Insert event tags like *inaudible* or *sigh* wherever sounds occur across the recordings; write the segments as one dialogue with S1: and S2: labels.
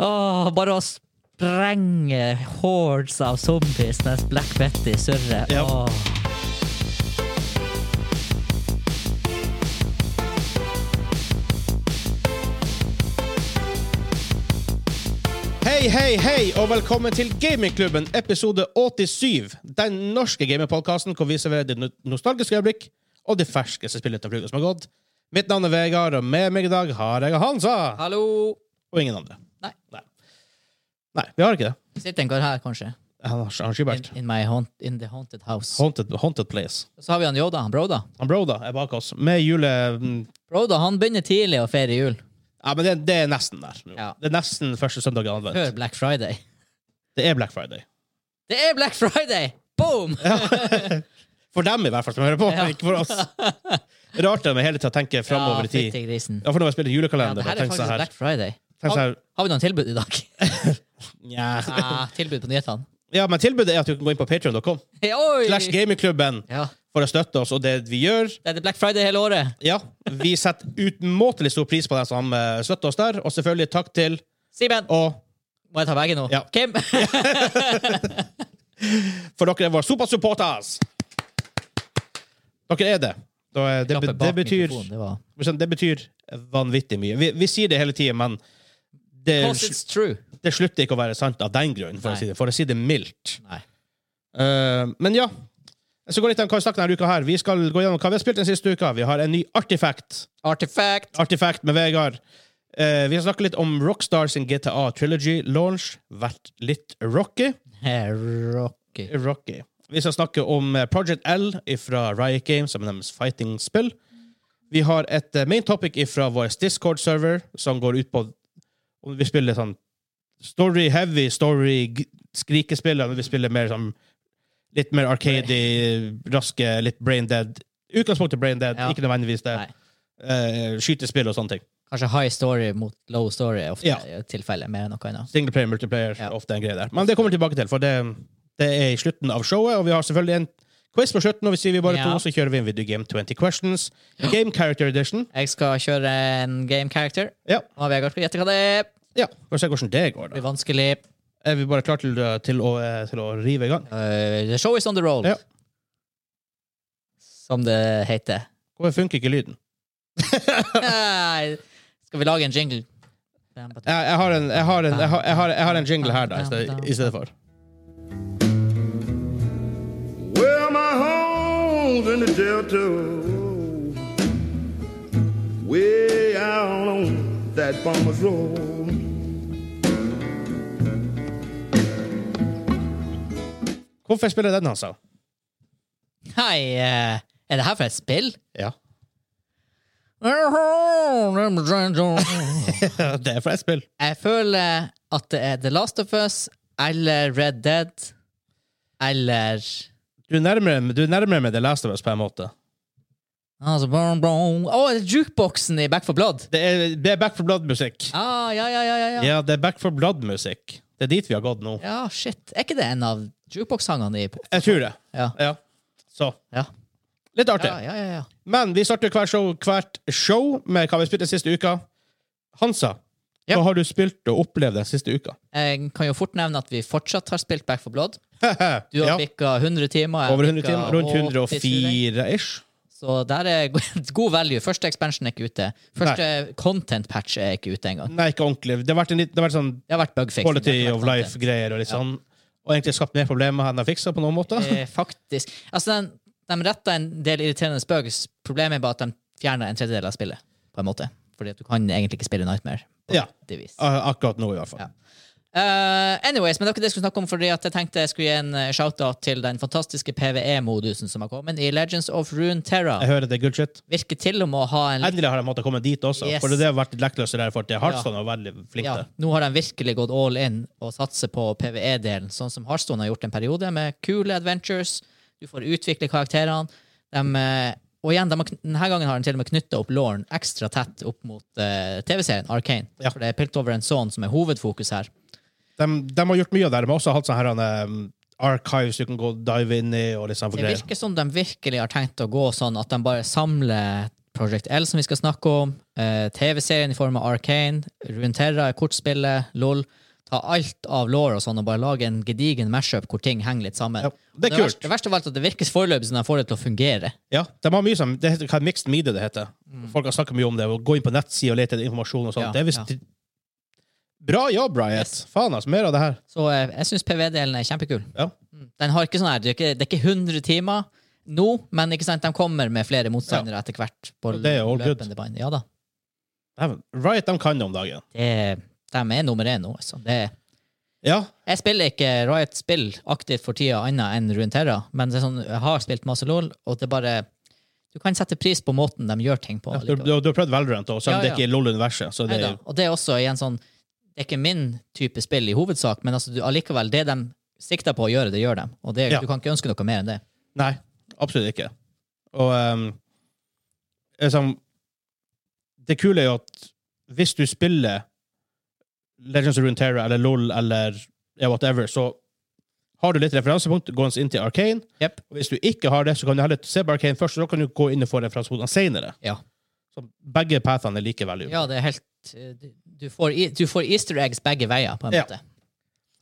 S1: Åh, bare å sprenge hordes av zombies mens Black Betty surrer.
S2: Ja.
S1: Åh.
S2: Hei, hei, hei, og velkommen til Gamingklubben, episode 87. Den norske gamingpodkasten hvor vi serverer det no- nostalgiske øyeblikk og det ferskeste spillet av uka som har gått. Mitt navn er Vegard, og med meg i dag har jeg Hansa.
S1: Hallo!
S2: Og ingen andre.
S1: Nei.
S2: Nei, Nei, vi har ikke det.
S1: Sitter en kar her, kanskje?
S2: Han har han har
S1: In,
S2: skybært.
S1: in, my haunt, in the haunted house.
S2: Haunted, haunted place.
S1: Så har vi han Yoda, han Broda.
S2: Han Broda er bak oss med jule...
S1: Broda han begynner tidlig å feire jul.
S2: Ja, men det, det er nesten der. nå.
S1: Ja.
S2: Det er nesten første søndag i advent.
S1: Før Black Friday.
S2: Det er Black Friday.
S1: Det er Black Friday! Boom!
S2: For dem, i hvert fall, som hører på.
S1: Ja.
S2: Ikke for
S1: *laughs*
S2: oss. Rart det med hele tida å tenke framover i tid.
S1: fytti grisen.
S2: Ja, for når jeg spiller
S1: Ja,
S2: julekalender,
S1: det
S2: ja,
S1: her er
S2: tenk
S1: faktisk
S2: sånn her,
S1: Black Friday.
S2: tenk sånn her
S1: Har vi noen tilbud i
S2: *laughs*
S1: dag?
S2: Nja.
S1: ah, tilbud på
S2: *laughs*
S1: nyhetene.
S2: Ja, men tilbudet er at du kan gå inn på patreon.com
S1: Oi!
S2: slash gamingklubben
S1: Ja.
S2: for å støtte oss og det vi gjør.
S1: Det er det Black Friday hele året.
S2: Ja, vi setter utmåtelig stor pris på deg som eh, støtter oss der, og selvfølgelig takk til
S1: Simen,
S2: og
S1: må jeg ta begge nå?
S2: Ja.
S1: Kim?
S2: For dere er våre supersupporters! Dere er det. Da er, det,
S1: Klappe
S2: be- det
S1: bak
S2: betyr
S1: mikrofonen, det var-
S2: det betyr vanvittig mye. Vi, vi sier det hele tiden, men det,
S1: Cause it's true.
S2: det slutter ikke å være sant av den grunn, for,
S1: Nei.
S2: å si det- for å si det mildt.
S1: Nei.
S2: Eh, men ja. Så går litt om hva vi snakker denne uka her. Vi skal gå gjennom hva vi har spilt den siste uka. Vi har en ny artifact.
S1: Artifact.
S2: Artifact med Vegard. Eh, vi har snakket litt om Rockstar sin GTA Trilogy launch. Vært litt rocky.
S1: Eh, Rocky.
S2: Rocky. Vi skal snakke om eh, Project L fra Riot Games, som er deres fighting-spill. Vi har et eh, main topic fra vår Discord-server, som går ut på om vi spiller sånn story-heavy, story-skrikespill, eller om vi spiller mer sånn litt mer
S1: *laughs*
S2: arcade raske, litt brain-dead. Utgangspunktet brain-dead,
S1: Ja.
S2: ikke nødvendigvis det.
S1: Nei.
S2: Eh, skytespill og sånne ting.
S1: Kanskje high story mot low story ofte
S2: Ja.
S1: i tilfelle, mer enn noe annet.
S2: Singleplayer, multiplayer,
S1: Ja.
S2: ofte en greie der. Men det kommer vi tilbake til, for det, det er i slutten av showet. Og vi har selvfølgelig en quiz på slutten, og vi sier vi bare
S1: Ja.
S2: to, så kjører vi en video game 20 questions. Game character edition.
S1: Jeg skal kjøre en game character.
S2: Ja.
S1: Og Vegard skal gjette hva det er. Det
S2: ja. Får se hvordan det går,
S1: blir
S2: da.
S1: vanskelig.
S2: Er vi bare klare til, til, å, eh, til å rive i gang?
S1: Eh, the show is on the roll.
S2: Ja.
S1: Som det heter.
S2: Hvorfor funker ikke lyden?
S1: Nei, skal vi lage en jingle?
S2: Jeg, jeg, har, en, jeg, har, en, jeg, har, jeg, har, jeg har en jingle her, da, i sted- i stedet for.
S3: Well, my home's in the Delta, way out on that bomber's road.
S2: Hvorfor jeg spiller den, altså? han sa?
S1: Hei, eh, er det her for et spill?
S2: Ja.
S1: Jeg
S2: det er fra et spill.
S1: føler at det er The Last of Us eller Red Dead eller
S2: Du er nærmere, du er nærmere med The Last of Us, på en måte.
S1: altså, brum, brum. Å, det er jukeboksen i Back for Blood!
S2: Det er, det er Back for Blood-musikk.
S1: Ah, ja, ja, ja, ja, ja.
S2: Ja, det er Back for Blood-musikk. Det er dit vi har gått nå.
S1: ja, shit. Er ikke det en av jukebox-sangene i
S2: Jeg tror det.
S1: Ja.
S2: Ja. Så.
S1: Ja.
S2: Litt artig.
S1: Ja, ja, ja, ja.
S2: Men vi starter hver show, hvert show med hva vi spilte den siste uka. Hansa,
S1: Ja.
S2: hva har du spilt og opplevd den siste uka?
S1: Jeg kan jo fort nevne at vi fortsatt har spilt Back for Blood. *laughs* Du har
S2: ja.
S1: bikka 100 timer. jeg
S2: Over 100
S1: bikka
S2: timer. Rundt
S1: 80, tror jeg.
S2: 104-ish.
S1: Så der er *laughs* go- god value. Første expansion er ikke ute. Første content patch er ikke ute engang.
S2: Nei, ikke ordentlig. Det har vært, en, litt- det har vært sånn
S1: Det har vært bugfixing.
S2: quality
S1: det har
S2: of
S1: ikke vært content.
S2: life-greier og litt sånn. Og egentlig skapt mer problemer enn jeg fiksa på noen måte. *laughs*
S1: Eh, faktisk. Altså, den, de retta en del irriterende bugs. Problemet er bare at de fjerna en tredjedel av spillet, på en måte. Fordi at du kan egentlig ikke spille Nightmare. På
S2: Ja.
S1: det vis.
S2: Ah, Akkurat nå, i hvert fall.
S1: Ja. Eh, anyways, men det var ikke det jeg skulle snakke om, fordi at jeg tenkte jeg skulle gi en eh, shout-out til den fantastiske PVE-modusen som har kommet i Legends of Rune Terra.
S2: Jeg hører det er good shit.
S1: Virker til og med å ha en
S2: Endelig har jeg måttet komme dit også,
S1: Yes.
S2: for det har vært lektløse der. For at det er Hardstone og veldig flink
S1: ja,
S2: til.
S1: Nå har de virkelig gått all in og satser på PVE-delen, sånn som Hearthstone har gjort en periode, med kule adventures. Du får utvikle karakterene. Dem, eh, og igjen, de har, kn- denne gangen har de til og med knytta opp Lauren ekstra tett opp mot eh, TV-serien Arcane.
S2: Ja.
S1: For det er Piltover and Son sånn som er hovedfokus her.
S2: De, de har gjort mye av det. her. De har også hatt sånne her, um, archives du kan gå og dive inn i. og litt sånne
S1: Det
S2: greier.
S1: virker som de virkelig har tenkt å gå sånn at de bare samler Project L, som vi skal snakke om, eh, eh, TV-serien i form av Arcane, Runeterra er kortspillet, LOL. Ta alt av law og sånn og bare lage en gedigen mashup hvor ting henger litt sammen.
S2: Ja, det er
S1: Og
S2: kult.
S1: Verste, det verste av alt er at det virker foreløpig som de får det til å fungere.
S2: Ja, de har mye som, det heter, hva er Mixed media det heter. Folk har snakket mye om det. og Gå inn på nettsida og lete etter informasjon. og sånt.
S1: Mm. Ja,
S2: det er visst
S1: ja.
S2: Bra jobb, Riot! Faen, altså. Mer av det her.
S1: Så eh, jeg syns PV-delen er kjempekul.
S2: Ja.
S1: Mm. Den har ikke sånn her, det er ikke, det er ikke 100 timer nå, men ikke sant, de kommer med flere motstandere etter hvert. På
S2: Og det er all good.
S1: løpende bånd. Ja da.
S2: Dæven, Riot de kan det om dagen.
S1: Det, de er nummer én nå. Altså. Det,
S2: Ja,
S1: jeg spiller ikke Riot-spill aktivt for tida annet enn Runeterra, men det er sånn, jeg har spilt masse LOL, og det er bare Du kan sette pris på måten de gjør ting på.
S2: du,
S1: likevel.
S2: du, du har prøvd Valorant, og selv om
S1: Ja,
S2: det
S1: ja.
S2: ikke er LOL-universet. så det
S1: Neida.
S2: er-
S1: Og det er også igjen sånn Det er ikke min type spill i hovedsak, men altså, du, allikevel, det de sikter på å gjøre, det gjør de. Og det,
S2: Ja.
S1: du kan ikke ønske noe mer enn det.
S2: Nei, absolutt ikke. Og ehm, liksom, Det kule er jo at hvis du spiller Legends of Runeterra eller LOL eller ja, whatever, så har du litt referansepunkt gående inn til Arcane.
S1: Jep.
S2: Og hvis du ikke har det, så kan du heller se på Arcane først, og så kan du gå inn og få referansepunktene senere.
S1: Ja.
S2: Så begge pathene er like valuable.
S1: Ja, det er helt eh, du- Du får, i- du får easter eggs begge veier, på en
S2: Ja.
S1: måte.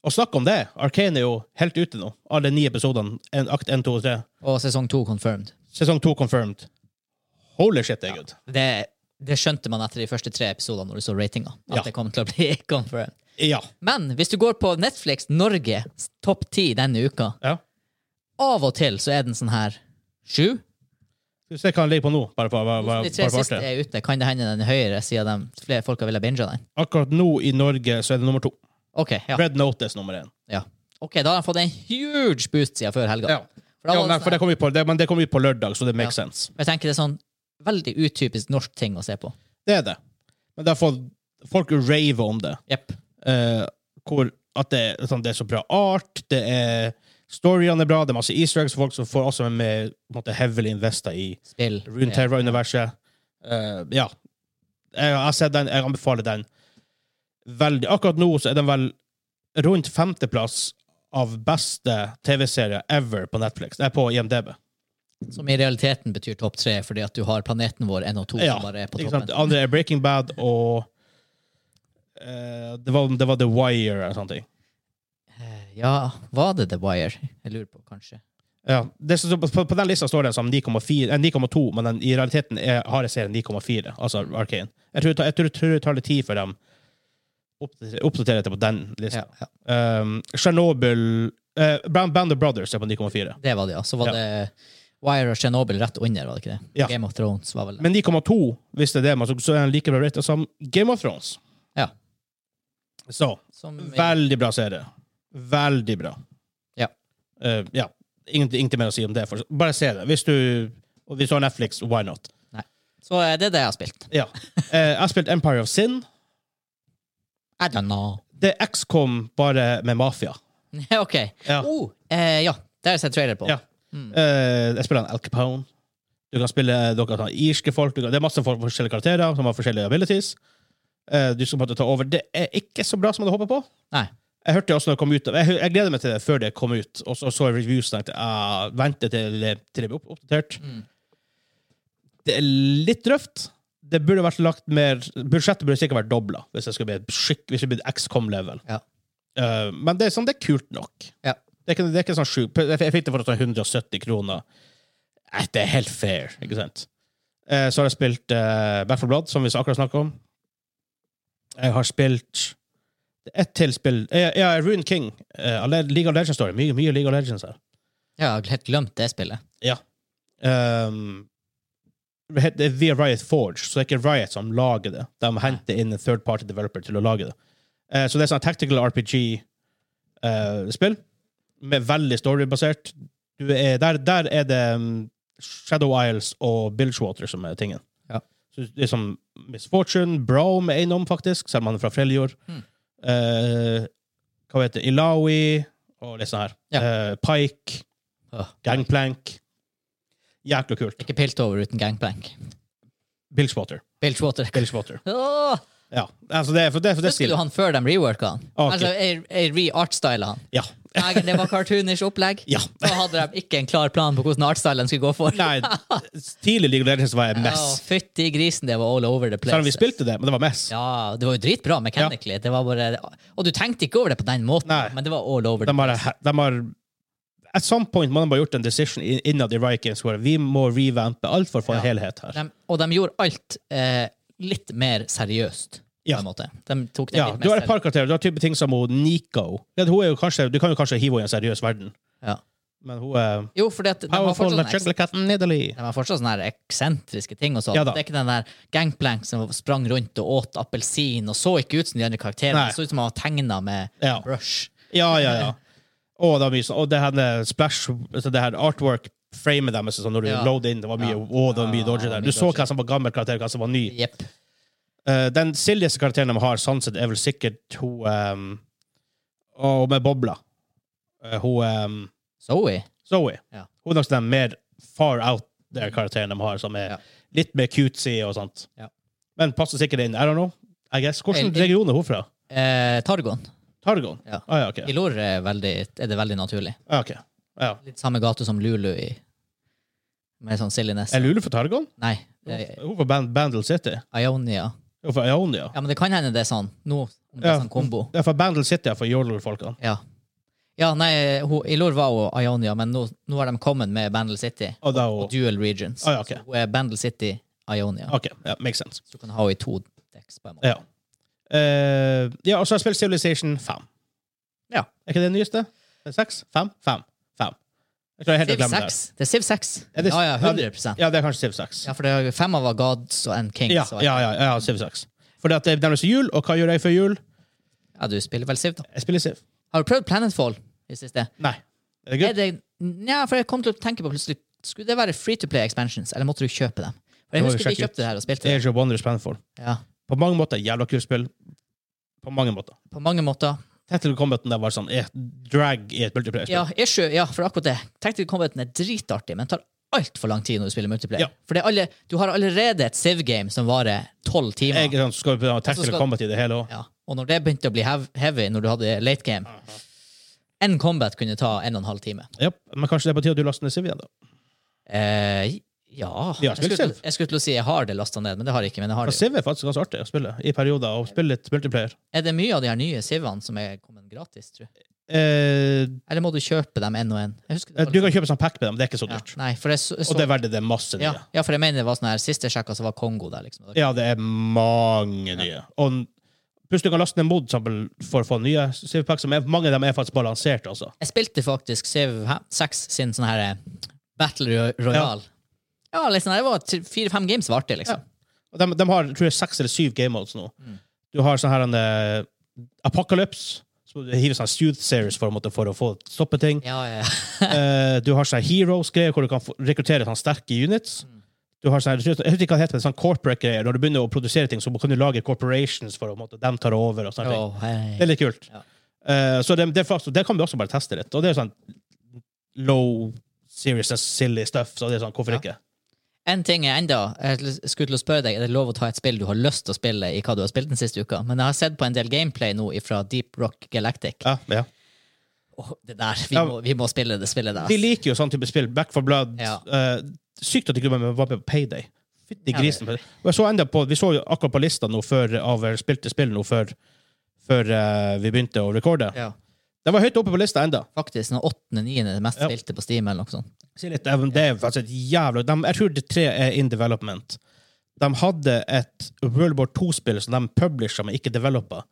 S2: Og snakk om det! Arcane er jo helt ute nå. Alle ni episodene. En, akt 1, 2 og 3.
S1: Og sesong to confirmed.
S2: Sesong 2 confirmed. Holy shit, det er good.
S1: Det, det skjønte man etter de første tre episodene når du så ratinga. At
S2: Ja.
S1: det kom til å bli *laughs* confirmed.
S2: Ja.
S1: Men hvis du går på Netflix Norge topp ti denne uka,
S2: ja.
S1: av og til så er den sånn her sju.
S2: Skal vi se hva han ligger på nå. Bare for, bare, bare,
S1: De tre
S2: bare for
S1: siste
S2: artig.
S1: er ute. Kan det hende den er høyere, siden de flere folk har villet binge den?
S2: Akkurat nå i Norge så er det nummer to.
S1: Ok, ja.
S2: Red Notice nummer én.
S1: ja. Ok, da har de fått en huge boost siden før helga.
S2: Ja.
S1: For da var
S2: nei,
S1: det
S2: for det
S1: sånn,
S2: kommer ut på, det, men det kommer ut på lørdag, så det makes sense.
S1: jeg tenker det er sånn veldig utypisk norsk ting å se på.
S2: Det er det. Men det har fått folk rave om det.
S1: Jepp.
S2: Eh, hvor, at det, er sånn, det er så bra art, det er Storyene er bra, det er masse easter eggs, folk som får også være med på en måte heavily investa i
S1: Spill.
S2: Runeterra-universet. Eh, ja. Jeg har sett den, jeg anbefaler den veldig. Akkurat nå så er den vel rundt femteplass av beste TV-serier ever på Netflix. Nei, på IMDb.
S1: Som i realiteten betyr topp tre, fordi at du har planeten vår NO2
S2: Ja,
S1: som bare er på
S2: ikke
S1: toppen.
S2: sant? Andre er Breaking Bad og eh, det, var, det var The Wire eller sånne ting.
S1: Eh, Ja, var det The Wire? Jeg lurer på, kanskje.
S2: Ja, det, som- på, på den lista står det som 9,4 eh, 9,2, men den, i realiteten er, har jeg serien 9,4, altså Arcane. Jeg tror, det tar- jeg tror, tror det tar litt tid for dem å oppdatere- oppdatere det på den lista.
S1: Ja, ja.
S2: Um, Chernobyl eh, Band, Band of Brothers er på 9,4.
S1: Det var det, ja. Så var
S2: Ja.
S1: det Wire og Chernobyl rett under, var det ikke det?
S2: Ja.
S1: Game of Thrones var vel det.
S2: Men 9,2, hvis det er det, men så, så er den like bra rated som Game of Thrones.
S1: Ja.
S2: Så
S1: Som
S2: veldig bra serie. Veldig bra.
S1: Ja.
S2: Eh, ja. Ingenting, ingenting mer å si om det. For, bare se det. Hvis du, og hvis du har Netflix, why not?
S1: Så eh, det er det jeg har spilt. *laughs*
S2: Ja. Eh, jeg har spilt Empire of Sin.
S1: I don't know. *laughs*
S2: Det er XCOM bare med mafia.
S1: OK.
S2: Ja.
S1: Oh, eh, ja. Det har jeg sett trailer på.
S2: Ja. Eh, jeg spiller en Al Capone. Du kan spille eh, dere kan ha irske folk. Du kan, det er masse folk, forskjellige karakterer som har forskjellige abilities. Eh, du skal på en måte ta over. Det er ikke så bra som jeg hadde håpet på.
S1: Nei.
S2: Jeg hørte også når det kom ut Jeg, jeg gleder meg til det før det kom ut, og så så jeg reviews og tenkte ah, vente til, det- til det blir opp, oppdatert.
S1: Mm.
S2: Det er litt røft. Det burde vært lagt mer Budsjettet burde sikkert vært dobla hvis det skulle bli et skikk, hvis det blir et XCOM-level.
S1: Ja.
S2: Eh, men det er, sånn, det er kult nok.
S1: Ja.
S2: Det er ikke, det er ikke sånn sjukt. Jeg, jeg fikk det for sånn 170 kroner. Eh, det er helt fair, ikke sant? Eh, så har jeg spilt eh, Back 4 Blood, som vi akkurat snakket om. Jeg har spilt ett til spill eh, Ja, Rune King. eh, Le- League of Legends står det. Mye, mye League of Legends her.
S1: Jeg har helt glemt det spillet.
S2: Um, det heter- det er via Riot Forge, så det er ikke Riot som lager det. De henter inn en third party developer til å lage det. Eh, så det er sånn tactical RPG-spill, eh, med veldig storybasert. Du er, der, der er det um, Shadow Isles og Bilgewater som er tingen.
S1: Ja.
S2: Så det er som Miss Fortune, Braum er innom, faktisk, selv om han er fra Freljord.
S1: Mm.
S2: Eh, hva heter det? Ilawi og litt sånn her.
S1: Ja.
S2: Eh, Pike,
S1: Åh.
S2: Gangplank. Jækla kult.
S1: Ikke Piltover uten gangplank.
S2: Bilgewater.
S1: Bilgewater.
S2: Bilgewater.
S1: Åh,
S2: Ja, altså det, er- for det, for det
S1: Husker du han før de reworka han?
S2: Ah, ok.
S1: Altså, jeg, jeg re-artstyla han.
S2: Ja.
S1: Nei, det var cartoonish opplegg.
S2: *laughs* Ja.
S1: Da hadde de ikke en klar plan på hvordan artstylen skulle gå for.
S2: Nei, tidlig League of Legends var jeg
S1: Å,
S2: mess.
S1: Fytti grisen, det var all over the place.
S2: Selv om vi spilte det, men det var mess.
S1: Ja, det var jo dritbra mechanically. Det var bare, og du tenkte ikke over det på den måten,
S2: Nei.
S1: men det var all over.
S2: De
S1: the
S2: har, de har At some point må de bare gjort en decision i- innad i Riot Games hvor vi må revampe alt for å få en
S1: Ja.
S2: helhet her.
S1: De, og de gjorde alt eh, litt mer seriøst, på
S2: Ja.
S1: en måte. De tok det
S2: Ja,
S1: litt
S2: du
S1: mer
S2: har et
S1: seriøst.
S2: par karakterer. Du har type ting som hun Nico. Ja, hun er jo kanskje, du kan jo kanskje hive henne i en seriøs verden,
S1: Ja.
S2: men hun er
S1: Jo, for det, de, har
S2: Powerful
S1: fortsatt
S2: like
S1: sånn eks-
S2: jungle cat Nidalee.
S1: de har fortsatt sånne her eksentriske ting. og sånt.
S2: Ja da.
S1: det er ikke den der gangplank som sprang rundt og åt appelsin og så ikke ut som de andre karakterene.
S2: Nei.
S1: Det så ut som han var tegna med
S2: Ja.
S1: brush.
S2: ja, ja, ja. Og det, var mye, sånn- og det her med splash, altså det her artwork framet deres sånn når du
S1: Ja.
S2: load in, det var mye,
S1: Ja.
S2: å, det var mye
S1: Ja,
S2: dodgy der.
S1: mye
S2: Du så
S1: dodgy.
S2: hva som var gammel karakter, hva som var ny.
S1: Jepp.
S2: Eh, den silligste karakteren de har, sånn sett, er vel sikkert hun ehm, Og med bobla. Eh, hun ehm,
S1: Zoe.
S2: Zoe.
S1: Ja.
S2: Hun er nok sånn den mer far out der karakteren de har, som er
S1: Ja.
S2: litt mer cutesy og sånt.
S1: Ja.
S2: Men passer sikkert inn. I don't know. I guess.
S1: Jeg-
S2: Hvilken
S1: jeg-
S2: region er hun fra?
S1: Eh, Targon.
S2: Targon?
S1: Ja.
S2: Ah, ja, ok.
S1: I Lore er, veldig, er det veldig naturlig.
S2: Ah, ok. Ja.
S1: Litt samme gate som Lulu i Med sånn silliness.
S2: Er Lulu fra Targon?
S1: Nei.
S2: Hun
S1: eh,
S2: hun er fra Band Bandle City.
S1: Ionia.
S2: Hun er fra Ionia.
S1: Ja, men det kan hende det er sånn nå. Om det
S2: Ja.
S1: er sånn kombo.
S2: *laughs* Det er fra Bandle City, for Yordle-folkene.
S1: Ja. Ja, nei, hun, i lor var hun Ionia, men nå, nå har de kommet med Bandle City
S2: Og da er
S1: og
S2: hun
S1: Dual Regions.
S2: Ah, ja, ok. Ah.
S1: Så hun er Bandle City, Ionia.
S2: OK. Ja, makes sense.
S1: Så du kan ha henne i to decks på en måte.
S2: Ja. Eh, ja, og så har jeg spilt Civilization 5.
S1: Ja.
S2: Er ikke det den nyeste? 6? 5? 5? 5. Jeg klarer helt å
S1: Civ
S2: glemme det.
S1: 6. Det er Civ 6.
S2: Er det-
S1: Ja, ja, 100
S2: Ja, det er kanskje Civ 6.
S1: Ja, for det er jo fem av var gods og en king.
S2: Ja,
S1: så,
S2: ja, ja, ja Civ 6. Fordi at det nærmer seg jul, og hva gjør jeg før jul?
S1: ja, du spiller vel Civ, da.
S2: Jeg spiller Civ.
S1: Har du prøvd Planetfall i siste?
S2: Nei. Er det
S1: Er
S2: good?
S1: det, ja, for jeg kom til å tenke på plutselig Skulle det være free to play expansions, eller måtte du kjøpe dem? For jeg
S2: Det må vi
S1: husker vi
S2: sjekke ut.
S1: kjøpte det her og spilte det.
S2: Age of Wonders Planfall.
S1: Ja,
S2: På mange måter jævla kult spill. På mange måter.
S1: på mange måter.
S2: Tactical Combaten der var sånn eh, drag i et multiplayer-spill.
S1: Ja, issue, ja, for akkurat det. Tactical Combaten er dritartig, men tar altfor lang tid når du spiller multiplayer.
S2: Ja.
S1: For det er alle, du har allerede et Civ-game som varer tolv timer.
S2: Jeg er sånn, skal vi ha Tactical
S1: skal-
S2: Combat i det hele òg.
S1: Ja. Og når det begynte å bli hev heavy, når du hadde late game En combat kunne ta en og en halv time.
S2: Ja. Men kanskje det er på tide at du laster ned Civ igjen, da?
S1: Eh, ja
S2: Ja,
S1: jeg skulle,
S2: spill
S1: til,
S2: Civ.
S1: jeg skulle til å si jeg har det lasta ned, men det har jeg ikke. Men jeg har
S2: For
S1: det.
S2: Civ er faktisk ganske artig å spille i perioder, og spille litt multiplayer.
S1: Er det mye av de her nye Civ-ene som er kommet gratis, tror du?
S2: Eh,
S1: Eller må du kjøpe dem en og en? Jeg husker det var
S2: du kan kjøpe sånn pack med dem, det er ikke så
S1: ja.
S2: dyrt.
S1: Nei, for jeg så, jeg
S2: Og det
S1: så
S2: er verdt det, det er masse nye.
S1: ja,
S2: Ja,
S1: ja, for jeg mener det var sånn her siste sjekka, så var Kongo der, liksom.
S2: det er mange nye. Og n- pluss du kan laste ned mod eksempel, for å få nye Civipack, som er, mange av dem er faktisk balansert, altså.
S1: Jeg spilte faktisk Civ 6 sin sånn her eh, Battle Roy- Royale. Ja, liksom, det var fire-fem games var artig, liksom.
S2: Og de, de har, tror jeg, seks eller syv game modes nå.
S1: Mm.
S2: Du har sånn her en eh, Apocalypse, så du hiver sånn Youth Series for, å måtte- for å få stoppe ting.
S1: Ja, ja, *laughs* ja.
S2: Eh, du har sånn heroes-greier hvor du kan få- rekruttere sånn sterke units. Du har sånn, jeg husker ikke hva det heter, men sånn corporate-greier. Når du begynner å produsere ting, så kan du lage corporations for å måtte, dem tar over. og sånne
S1: Å,
S2: ting.
S1: hei.
S2: Det er litt kult.
S1: Ja.
S2: Eh, så det, det, er faktisk- det kan vi også bare teste litt. Og det er sånn low seriousness, silly stuff. Så det er sånn, hvorfor
S1: Ja.
S2: ikke?
S1: En ting er enda Jeg skulle til å spørre deg Er det lov å ta et spill du har lyst til å spille i hva du har spilt den siste uka. Men jeg har sett på en del gameplay nå fra Deep Rock Galactic.
S2: Ja, ja.
S1: Åh, det der, vi,
S2: Ja.
S1: må, vi må spille det spillet der.
S2: De
S1: ass.
S2: liker jo sånn type spill. Back for blood.
S1: Ja.
S2: eh, sykt at de ikke var med var med på Payday. Fytti
S1: Ja,
S2: grisen. Og jeg så enda på, vi så jo akkurat på lista nå før, av spilte spill nå før, før eh, vi begynte å recorde.
S1: Ja.
S2: Den var høyt oppe på lista enda.
S1: Faktisk den åttende-niende mest
S2: Ja.
S1: spilte på Steam. eller noe sånt.
S2: Si litt, eh, det er faktisk et jævla de, Jeg tror det tre er in development. De hadde et World War 2-spill som de publisha, men ikke developa.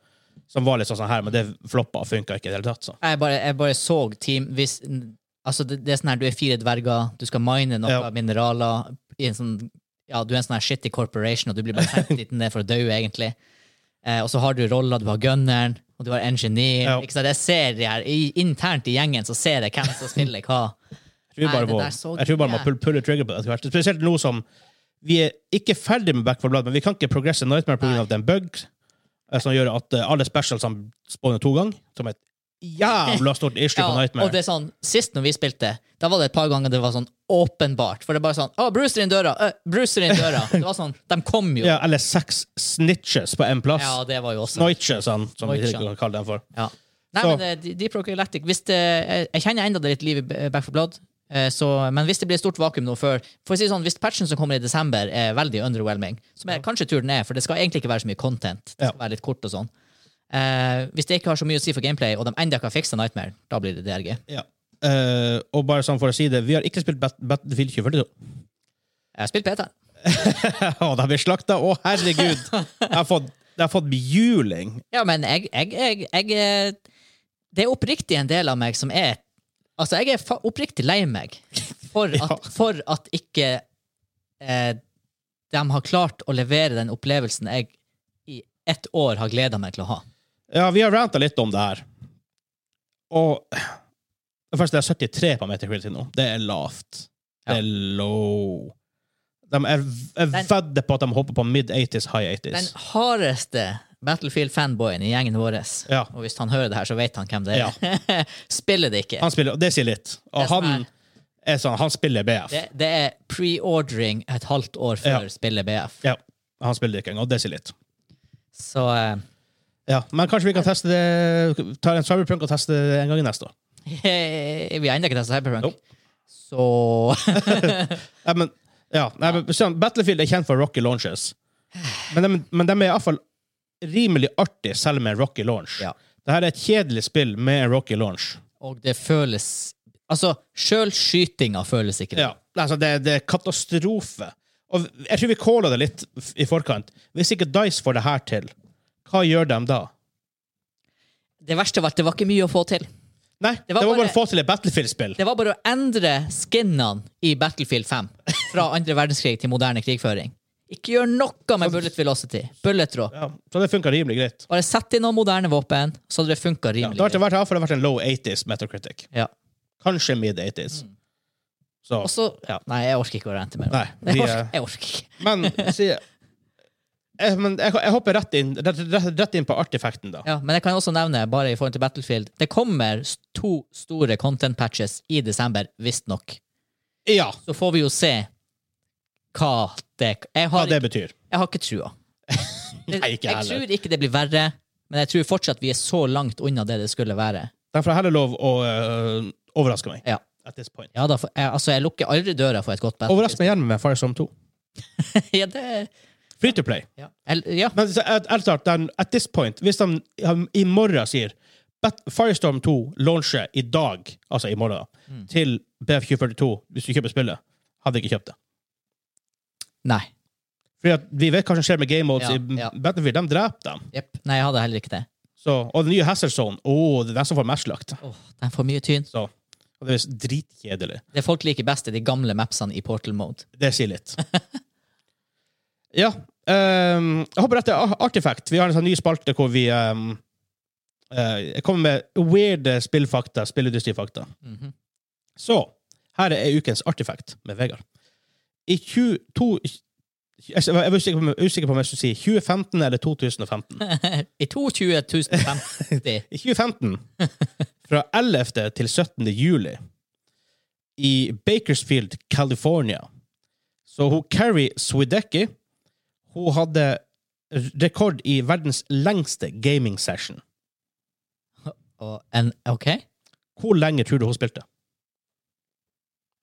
S2: Som var litt sånn sånn her, men det floppa og funka ikke i det hele tatt. Så.
S1: Jeg bare, jeg bare så team hvis, n- altså det, det er sånn her, Du er fire dverger, du skal mine noe
S2: Ja.
S1: mineraler i en sånn, ja, Du er en sånn her shitty corporation, og du
S2: *laughs*
S1: blir bare sendt dit ned for å dø, egentlig. Eh, og så har du roller, du har gunneren, og du har engineer.
S2: Ja.
S1: Ikke sant? Jeg ser det her, i, Internt i gjengen så ser jeg hvem som spiller
S2: *laughs*
S1: hva.
S2: Jeg tror
S1: Nei,
S2: bare,
S1: det
S2: må,
S1: der så
S2: jeg tror bare må
S1: jæv-
S2: pull, pull the trigger på det. etter hvert. Spesielt nå som vi er ikke ferdig med Back for Blood, men vi kan ikke progresse Nightmare pga. en bug eh, som gjør at eh, alle specialsene spawner to ganger, som er et jævla stort issue
S1: *laughs* Ja,
S2: på
S1: og
S2: Nightmare.
S1: det er sånn, Sist når vi spilte, Da var det et par ganger det var sånn åpenbart. For det er bare sånn Å, Brewster inn døra! Øh, Brewster inn døra! Det var sånn, De kom jo.
S2: Ja, eller seks snitches på én plass.
S1: Ja, det var jo også
S2: Snoitches, sånn, som vi
S1: Snoitcher.
S2: ikke kan kalle dem for.
S1: Ja. Nei,
S2: Så-
S1: men eh, De- Deep Rock Galactic hvis det, jeg, jeg kjenner enda det er litt liv i B- Back for Blood, eh, så, men hvis det blir et stort vakuum nå før For å si det sånn, Hvis patchen som kommer i desember, er veldig underwhelming, som jeg kanskje tror den er, for det skal egentlig ikke være så mye content, det
S2: Ja.
S1: skal være litt kort og sånn eh, Hvis det ikke har så mye å si for gameplay, og de enda ikke har fiksa Nightmare, da blir det DRG.
S2: Ja. Eh, og bare sånn for å si det, vi har ikke spilt Bat- Battlefield 2042.
S1: Jeg har spilt PT.
S2: *laughs* Ja, da blir slakta. Å, herregud!
S1: *laughs*
S2: Jeg har fått, jeg har fått juling.
S1: Ja, men jeg, jeg, jeg, jeg eh, Det er oppriktig en del av meg som er Altså, jeg er fa oppriktig lei meg
S2: *laughs*
S1: for at,
S2: Ja.
S1: for at ikke eh, de har klart å levere den opplevelsen jeg i ett år har gleda meg til å ha.
S2: Ja, vi har ranta litt om det her. Og det første er 73 på Metacritic nå. Det er lavt. Det
S1: Ja.
S2: er low. De er,
S1: Den-
S2: jeg vedder på at de hopper på mid-80s, high 80s.
S1: Den hardeste Battlefield-fanboyen i gjengen vår,
S2: Ja.
S1: og hvis han hører det her, så vet han hvem det er, *laughs* spiller det ikke.
S2: Han spiller, og det sier litt. Og
S1: Det som
S2: han
S1: er-
S2: er sånn, han spiller BF.
S1: Det, det er pre-ordering et halvt år før
S2: Ja.
S1: spillet BF.
S2: Ja, han spiller ikke engang, og det sier litt.
S1: Så eh,
S2: Ja, men kanskje vi kan teste det, ta en cyberpunk og teste det en gang i neste år.
S1: Eh, Vi har ennå ikke testet Cyberpunk.
S2: Nope.
S1: Så *laughs*
S2: Nei, men, ja, nei, men, sånn, Battlefield er kjent for rocky launches, men de, men de er iallfall rimelig artig selv med en rocky launch.
S1: Ja.
S2: Dette er et kjedelig spill med en rocky launch.
S1: Og det føles Altså, sjøl skytinga føles ikke det.
S2: Ja, altså det, det er katastrofe. Og jeg tror vi calla det litt f- i forkant. Hvis ikke Dice får det her til, hva gjør de da?
S1: Det verste var at det var ikke mye å få til.
S2: Nei, det var, bare å få til et Battlefield-spill.
S1: Det var bare å endre skinnene i Battlefield 5 fra andre verdenskrig til moderne krigføring. Ikke gjør noe med bullet velocity. Bullettråd.
S2: Ja, så det funka rimelig greit.
S1: Bare sett inn noen moderne våpen, så hadde det funka
S2: Ja, det har
S1: rimelig.
S2: ikke vært, her, for det har vært en low 80s Metacritic.
S1: Ja.
S2: Kanskje mid 80s. Så,
S1: Og så
S2: Ja.
S1: Nei, jeg orker ikke å rente mer. om
S2: Nei,
S1: det. *laughs*
S2: vi
S1: Jeg
S2: er-
S1: orker, jeg orker ikke.
S2: men si, jeg, men jeg, jeg hopper rett inn, rett, rett, rett inn på artifacten, da.
S1: Ja, men jeg kan også nevne, bare i forhold til Battlefield, det kommer s- to store content patches i desember, visstnok.
S2: Ja,
S1: Så får vi jo se hva det Jeg
S2: hva
S1: har,
S2: det
S1: ikke,
S2: betyr.
S1: jeg har ikke trua. Det-
S2: *laughs* Nei, ikke
S1: jeg
S2: heller.
S1: tror ikke det blir verre, men jeg tror fortsatt vi er så langt unna det det skulle være.
S2: Derfor har jeg heller lov å øh, overraske meg.
S1: Ja.
S2: At this point.
S1: Ja da, for, jeg, altså, jeg lukker aldri døra for et godt
S2: Overrask
S1: Battlefield.
S2: meg igjen med Firestorm 2.
S1: *laughs* ja, det,
S2: Free to play.
S1: ja. El- ja.
S2: Men så, at, at, at, den- at this point, hvis de han i morgen sier Bat Firestorm 2 launcher i dag, altså i morgen,
S1: Mm.
S2: til BF2042 hvis du kjøper spillet, hadde jeg ikke kjøpt det.
S1: Nei.
S2: Fordi at vi vet hva som skjer med game modes
S1: Ja,
S2: i
S1: ja.
S2: Battlefield. De dreper dem.
S1: Jepp. Nei, jeg hadde heller ikke det.
S2: Så, og den nye Hazard Zone, oh, det er den som får mest slakt.
S1: Åh, den får mye tyn.
S2: Så, og det er visst dritkjedelig.
S1: Det folk liker best, er de gamle mapsene i Portal Mode.
S2: Det sier litt. *laughs* ja. ehm, jeg håper dette er Artifact. Vi har en sånn ny spalte hvor vi ehm, eh, jeg kommer med weird spillfakta, spillindustrifakta.
S1: Mhm.
S2: Så her er ukens Artifact med Vegard. I 22 Jeg er usikker på- usikker på om jeg skulle si 2015 eller 2015.
S1: I 22 050
S2: I 2015, fra 11. til 17. juli, i Bakersfield, California, så hun Carrie Swidecki hun hadde rekord i verdens lengste gaming session.
S1: og en, OK?
S2: Hvor lenge tror du hun spilte?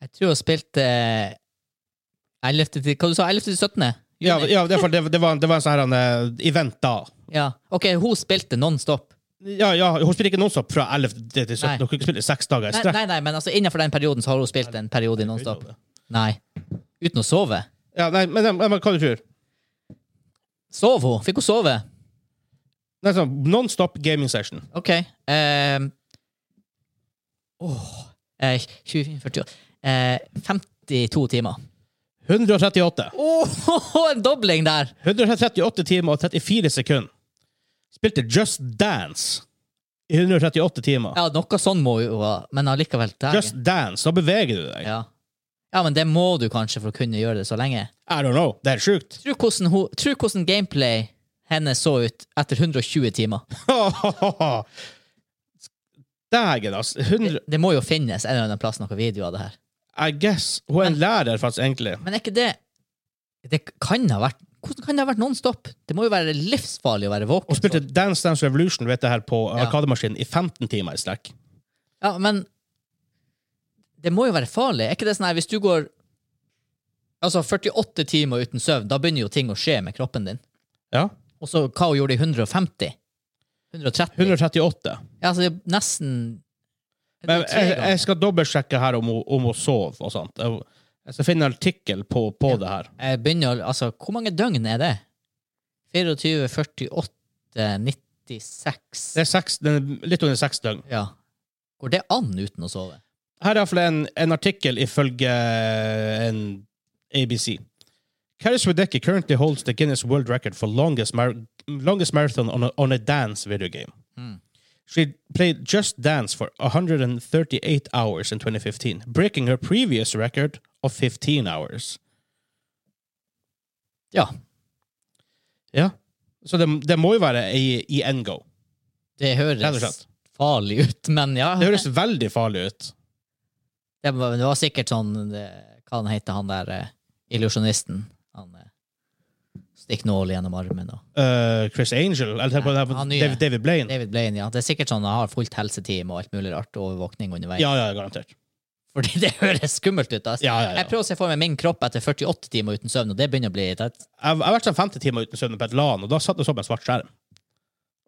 S1: Jeg tror hun spilte eh, 11. til Hva du sa 11. til 17.?
S2: Ja,
S1: Juni?
S2: ja det, var, det, var, det var en sånn her, en, eh, event da.
S1: ja. OK, hun spilte non-stop.
S2: Ja, ja, hun spilte ikke nonstop fra 11. til 17.
S1: Nei.
S2: Hun kunne ikke spille i seks dager i
S1: Nei,
S2: strekk.
S1: nei, nei, men altså innenfor den perioden så har hun spilt en periode i non-stop. Nei. Uten å sove.
S2: Ja, nei, men, men, men hva du tror du?
S1: Sov hun? Fikk hun sove?
S2: Sånn, non-stop gaming session.
S1: OK. Um, åh, eh, 20, 40 eh, 52 timer.
S2: 138.
S1: Åh, *laughs* en dobling der!
S2: 138 timer og 34 sekunder. Spilte Just Dance i 138 timer.
S1: Ja, noe sånn må jo ha, men allikevel der.
S2: Just Dance, da beveger du deg.
S1: ja. ja, men det må du kanskje for å kunne gjøre det så lenge.
S2: I don't know. Det er helt sjukt. *laughs*
S1: Tro hvordan, ho- tro hvordan gameplay henne så ut etter 120 timer.
S2: det Dægen, altså. 100,
S1: Det må jo finnes en eller annen plass noen videoer av det her.
S2: I guess. Hun er en lærer, faktisk, egentlig.
S1: Men er ikke det Det kan ha vært Hvordan kan det ha vært non-stop? Det må jo være livsfarlig å være våken.
S2: Hun spilte Dance Dance Revolution vet jeg, her på
S1: Ja.
S2: Arkademaskinen i 15 timer i strekk.
S1: Ja, men det må jo være farlig. Er ikke det sånn her, hvis du går altså 48 timer uten søvn, da begynner jo ting å skje med kroppen din.
S2: Ja.
S1: Og så hva hun gjorde i 150? 130?
S2: 138.
S1: Ja, altså det er nesten
S2: Men
S1: det er tre
S2: jeg,
S1: ganger.
S2: jeg skal dobbeltsjekke her om hun, om hun sov og sånt. Jeg, jeg skal finne en artikkel på, på det her.
S1: Jeg begynner å Altså, hvor mange døgn er det? 24, 48, 96
S2: Det er seks, det er litt under seks døgn.
S1: Ja. Går det an uten å sove?
S2: Her er iallfall en, en artikkel ifølge eh, en ABC. Kari Swedecki currently holds the Guinness World Record for longest, mar longest marathon on a, on a dance video game.
S1: Hmm.
S2: She played Just Dance for 138 hours in 2015, breaking her previous record of 15 hours.
S1: Ja.
S2: Ja. Så det, det må jo være i, i en go.
S1: Det
S2: Rett og
S1: høres
S2: slett.
S1: farlig ut, men ja.
S2: Det høres veldig farlig ut.
S1: Det var, det var sikkert sånn det- Hva han heter han der eh, illusjonisten? Han eh, stikk nål gjennom armen og
S2: Eh, Chris Angel, eller tenk på,
S1: Ja,
S2: det her på
S1: han nye.
S2: David, David Blaine.
S1: David Blaine, ja. Det er sikkert sånn han har fullt helseteam og alt mulig rart, overvåkning underveis.
S2: Ja, ja, garantert.
S1: Fordi det høres skummelt ut. Altså.
S2: Ja, ja, ja.
S1: Jeg prøver å se for meg min kropp etter 48 timer uten søvn, og det begynner å bli det,
S2: Jeg jeg har vært sånn 50 timer uten søvn på et LAN, og da satt jeg så på en svart skjerm.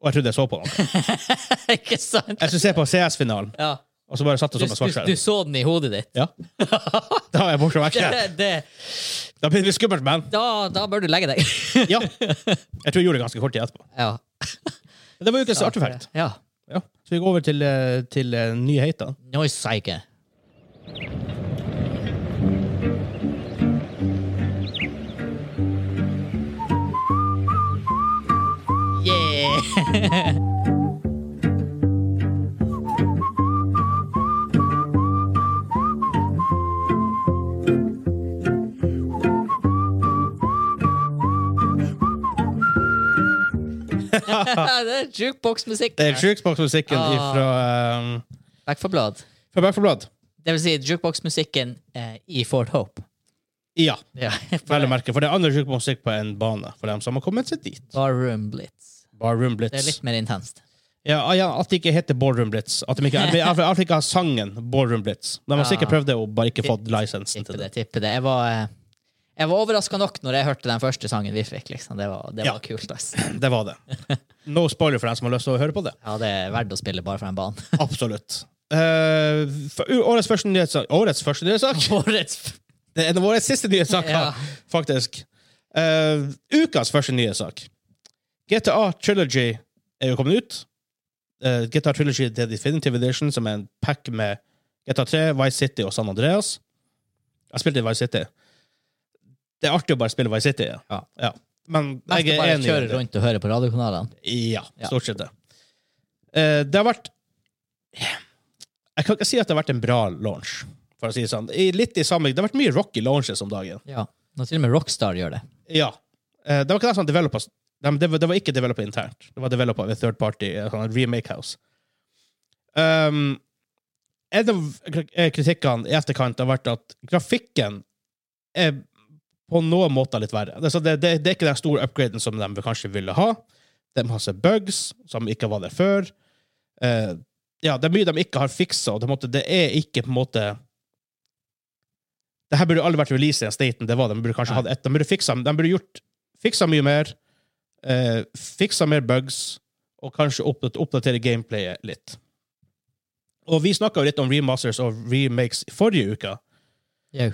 S2: Og jeg trodde jeg så på noe.
S1: *laughs* Ikke sant?
S2: Jeg skulle se på CS-finalen,
S1: Ja.
S2: og så bare satt Sånn jeg
S1: Du,
S2: så på en svart
S1: du, du
S2: skjerm.
S1: så den i hodet ditt.
S2: Ja. Da er jeg borte vekk.
S1: Det, det,
S2: Da blir det litt skummelt, men
S1: da, da bør du legge deg. *laughs*
S2: ja. Jeg tror jeg gjorde det ganske kort tid etterpå.
S1: ja.
S2: Men Det var ukens artefakt.
S1: Ja.
S2: Ja. Så vi går over til, eh, til eh, nyheter.
S1: Noise psyche. Yeah! *laughs*
S2: *laughs*
S1: det er jukebox-musikk.
S2: Det er Sjukeboksmusikken
S1: Ah.
S2: fra, eh,
S1: Back for blood.
S2: fra Back 4 Blood.
S1: Det vil si jukebox-musikken eh, i Fort Hope.
S2: Ja,
S1: *laughs* Ja,
S2: vel å merke. For det er andre sjukeboksmusikk på en bane, for dem som har kommet seg dit.
S1: Barroom Blitz.
S2: Barroom
S1: Det er
S2: Blitz.
S1: litt mer intenst.
S2: Ja, ah, ja, At det ikke heter Ballroom Blitz. At de ikke, *laughs* at de- at de ikke har sangen Ballroom Blitz. De har sikkert prøvd det og bare ikke fått lisensen
S1: Tipper
S2: til
S1: det.
S2: det.
S1: tipper det. Jeg var, eh, jeg var overraska nok når jeg hørte den første sangen vi fikk. liksom. Det var, det
S2: Ja.
S1: var kult. ass.
S2: Det var *laughs* det. No spoiler for dem som har lyst til å høre på det.
S1: Ja, Det er verdt å spille bare for en banen.
S2: *laughs* Absolutt. Eh, for- årets første nyhetssak Årets første nyhetssak?
S1: Årets
S2: Det er en av våre siste nyhetssaker,
S1: Ja.
S2: faktisk. Eh, ukas første nyhetssak. GTA Trilogy er jo kommet ut. Eh, GTA Trilogy The Definitive Edition, som er en pack med GTA 3, Vice City og San Andreas. Jeg spilte i Vice City. Det er artig å bare spille Vice City. Ja.
S1: Ja.
S2: Men jeg
S1: Jeg
S2: er
S1: bare
S2: enig. i
S1: kjører
S2: det.
S1: rundt og hører på radiokanalene.
S2: Ja,
S1: Ja.
S2: stort sett det. Eh, det har vært Jeg kan ikke si at det har vært en bra launch, for å si det sånn. I, litt i samme, det har vært mye rocky launches om dagen.
S1: Ja. Når til og med Rockstar gjør det.
S2: Ja. Eh, det var ikke det som developers de, det, var, det var ikke developa internt. Det var developa ved third party, eh, sånn remake house. Um, en av kri- eh, kritikkene i etterkant har vært at grafikken er på noen måter litt verre. Det, så det, det, det er ikke den store upgraden som de kanskje ville ha. Det er masse bugs som ikke var der før. Eh, ja, det er mye de ikke har fiksa, og det, på en måte, det er ikke på en måte Det her burde aldri vært released i en staten. Det var det. De burde kanskje
S1: Nei.
S2: hatt et. De burde, fiksa, de burde gjort fiksa mye mer, eh, fiksa mer bugs, og kanskje oppdat- oppdatere gameplayet litt. Og vi snakka jo litt om remasters og remakes i forrige uke
S1: Jau.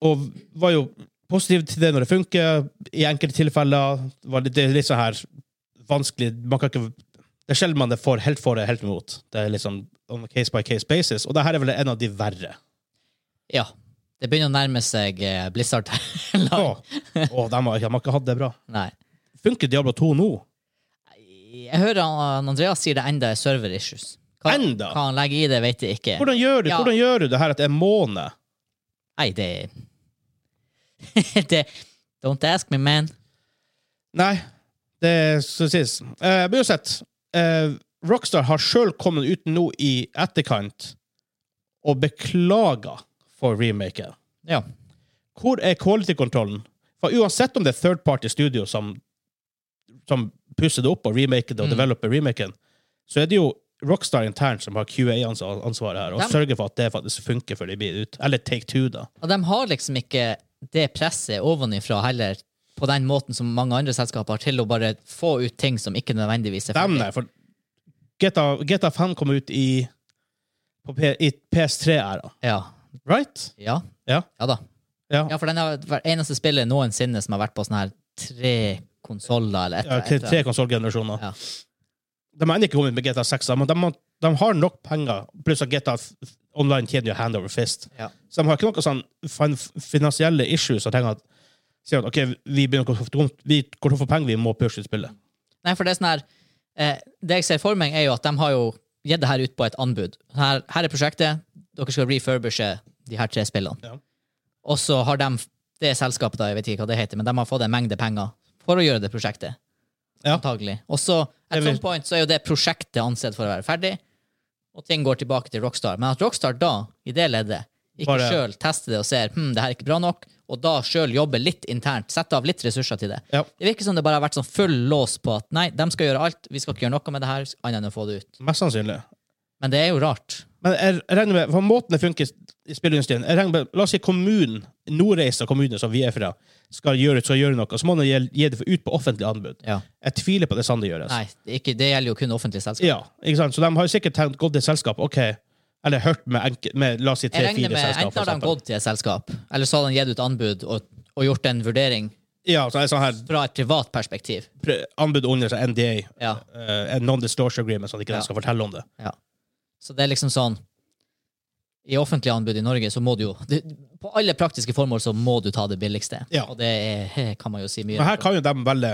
S2: og var jo positiv til det når det funker. I enkelte tilfeller var det, det er litt sånn her vanskelig man kan ikke, Det er sjelden man det får helt for det helt imot. Det er litt sånn on a case by case basis, og det her er vel en av de verre.
S1: Ja. Det begynner å nærme seg eh, Blizzard. *laughs*
S2: Å, å, de, har, de har ikke hatt det bra.
S1: Nei.
S2: Funker Diablo 2 nå?
S1: Jeg hører han Andreas sier det enda er server issues. Hva,
S2: Enda?
S1: hva han legger i det, vet jeg ikke.
S2: Hvordan gjør du,
S1: Ja.
S2: hvordan gjør du det her at det er en måned?
S1: Nei, det *laughs* Det Don't ask me, man.
S2: Nei, det skal sies. Eh, men uansett, eh, Rockstar har sjøl kommet ut nå i etterkant og beklaga for remaken.
S1: Ja.
S2: Hvor er quality-kontrollen? For uansett om det er third party studio som, som pusser det opp og remaker det og
S1: Mm.
S2: developer remaken, så er det jo Rockstar internt som har QA-ansvaret her, og
S1: Dem-
S2: sørger for at det faktisk funker før de blir ut. Eller Take Two, da.
S1: Og de har liksom ikke det presset ovenifra heller, på den måten som mange andre selskaper har, til å bare få ut ting som ikke nødvendigvis er
S2: Dem
S1: ferdig.
S2: der, for GTA, GTA 5 kom ut i, på P, i PS3-æra,
S1: Ja.
S2: right?
S1: Ja.
S2: Ja.
S1: ja da.
S2: Ja.
S1: Ja, for den har vært eneste spillet noensinne som har vært på sånne her tre konsoller eller et
S2: Ja,
S1: eller
S2: til
S1: annet.
S2: tre konsollgenerasjoner.
S1: Ja.
S2: De har ennå ikke kommet med GTA 6, men de, har- de har nok penger, pluss at GTA f- Online tjener jo hand over fist.
S1: Ja.
S2: Så de har ikke noen sånn fin finansielle issues og tenker at, sier at ok, vi begynner å gå tom- vi går tom for penger, vi må pushe ut spillet.
S1: Nei, for det er sånn her eh, Det jeg ser for meg, er jo at de har jo gitt det her ut på et anbud. Her, her er prosjektet. Dere skal refurbishe de her tre spillene.
S2: Ja.
S1: Og så har de det selskapet, da, jeg vet ikke hva det heter, men de har fått en mengde penger for å gjøre det prosjektet.
S2: Ja.
S1: Antagelig. Og så, at
S2: Jeg
S1: some
S2: vet-
S1: point, så er jo det prosjektet ansett for å være ferdig, og ting går tilbake til Rockstar. Men at Rockstar da, i det leddet, ikke
S2: Bare-
S1: sjøl tester det og ser hm, det her er ikke bra nok, og da sjøl jobber litt internt, setter av litt ressurser til det,
S2: Ja.
S1: det virker som det bare har vært sånn full lås på at nei, de skal gjøre alt, vi skal ikke gjøre noe med det her, annet enn å få det ut.
S2: Mest sannsynlig.
S1: Men det er jo rart.
S2: Men jeg jeg regner med, for måten det funker i spillindustrien jeg regner med, La oss si kommunen, Nordreisa kommune, som vi er fra, skal gjøre, skal gjøre noe, så må de gi, gi det ut på offentlig anbud.
S1: Ja.
S2: Jeg tviler på at det er sånn det gjøres.
S1: Nei, det, er ikke, det gjelder jo kun offentlige selskaper.
S2: Ja, ikke sant? Så de har jo sikkert tenkt, gått til selskap, ok, eller hørt med, enke, med la oss si
S1: Jeg
S2: tre-fire
S1: regner med
S2: selskap.
S1: enten
S2: for
S1: har de
S2: eksempel.
S1: gått til et selskap, eller så har de gitt ut anbud og, og gjort en vurdering
S2: Ja, så er det sånn her,
S1: fra et privat perspektiv.
S2: pre- anbud under seg NDA,
S1: Ja.
S2: eh, en non-distortion agreement, sånn at de ikke
S1: Ja.
S2: skal fortelle om det.
S1: Ja. Så det er liksom sånn I offentlige anbud i Norge så må du jo det, På alle praktiske formål så må du ta det billigste.
S2: Ja.
S1: Og det er, kan man jo si mye
S2: Men her kan jo de velge,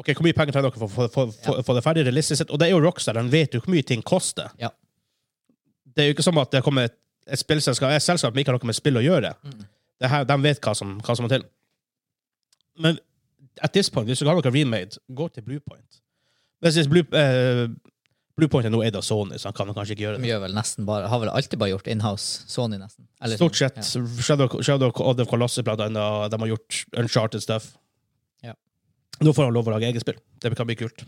S2: ok, hvor mye penger trenger dere for å få- få- få- få det ferdig realistisk sett? Og det er jo Rockstar, de vet jo hvor mye ting koster.
S1: Ja.
S2: Det er jo ikke som at det kommer et, et spillselskap, et selskap som ikke har noe med spill å gjøre. Det her, de vet hva som, hva som må til. Men at this point, hvis du har noe remade, gå til Bluepoint. Hvis det er Blue, eh, Bluepoint er nå eid av Sony, så han kan kanskje ikke gjøre
S1: De
S2: det.
S1: gjør vel nesten bare, har vel alltid bare gjort inhouse. Sony, nesten. Eller- sånn,
S2: Stort sett. Shadow, Shadow of the Colossus, blant annet. De har gjort Uncharted stuff.
S1: Ja. Hm.
S2: Nå får han lov å lage eget spill. Det kan bli kult.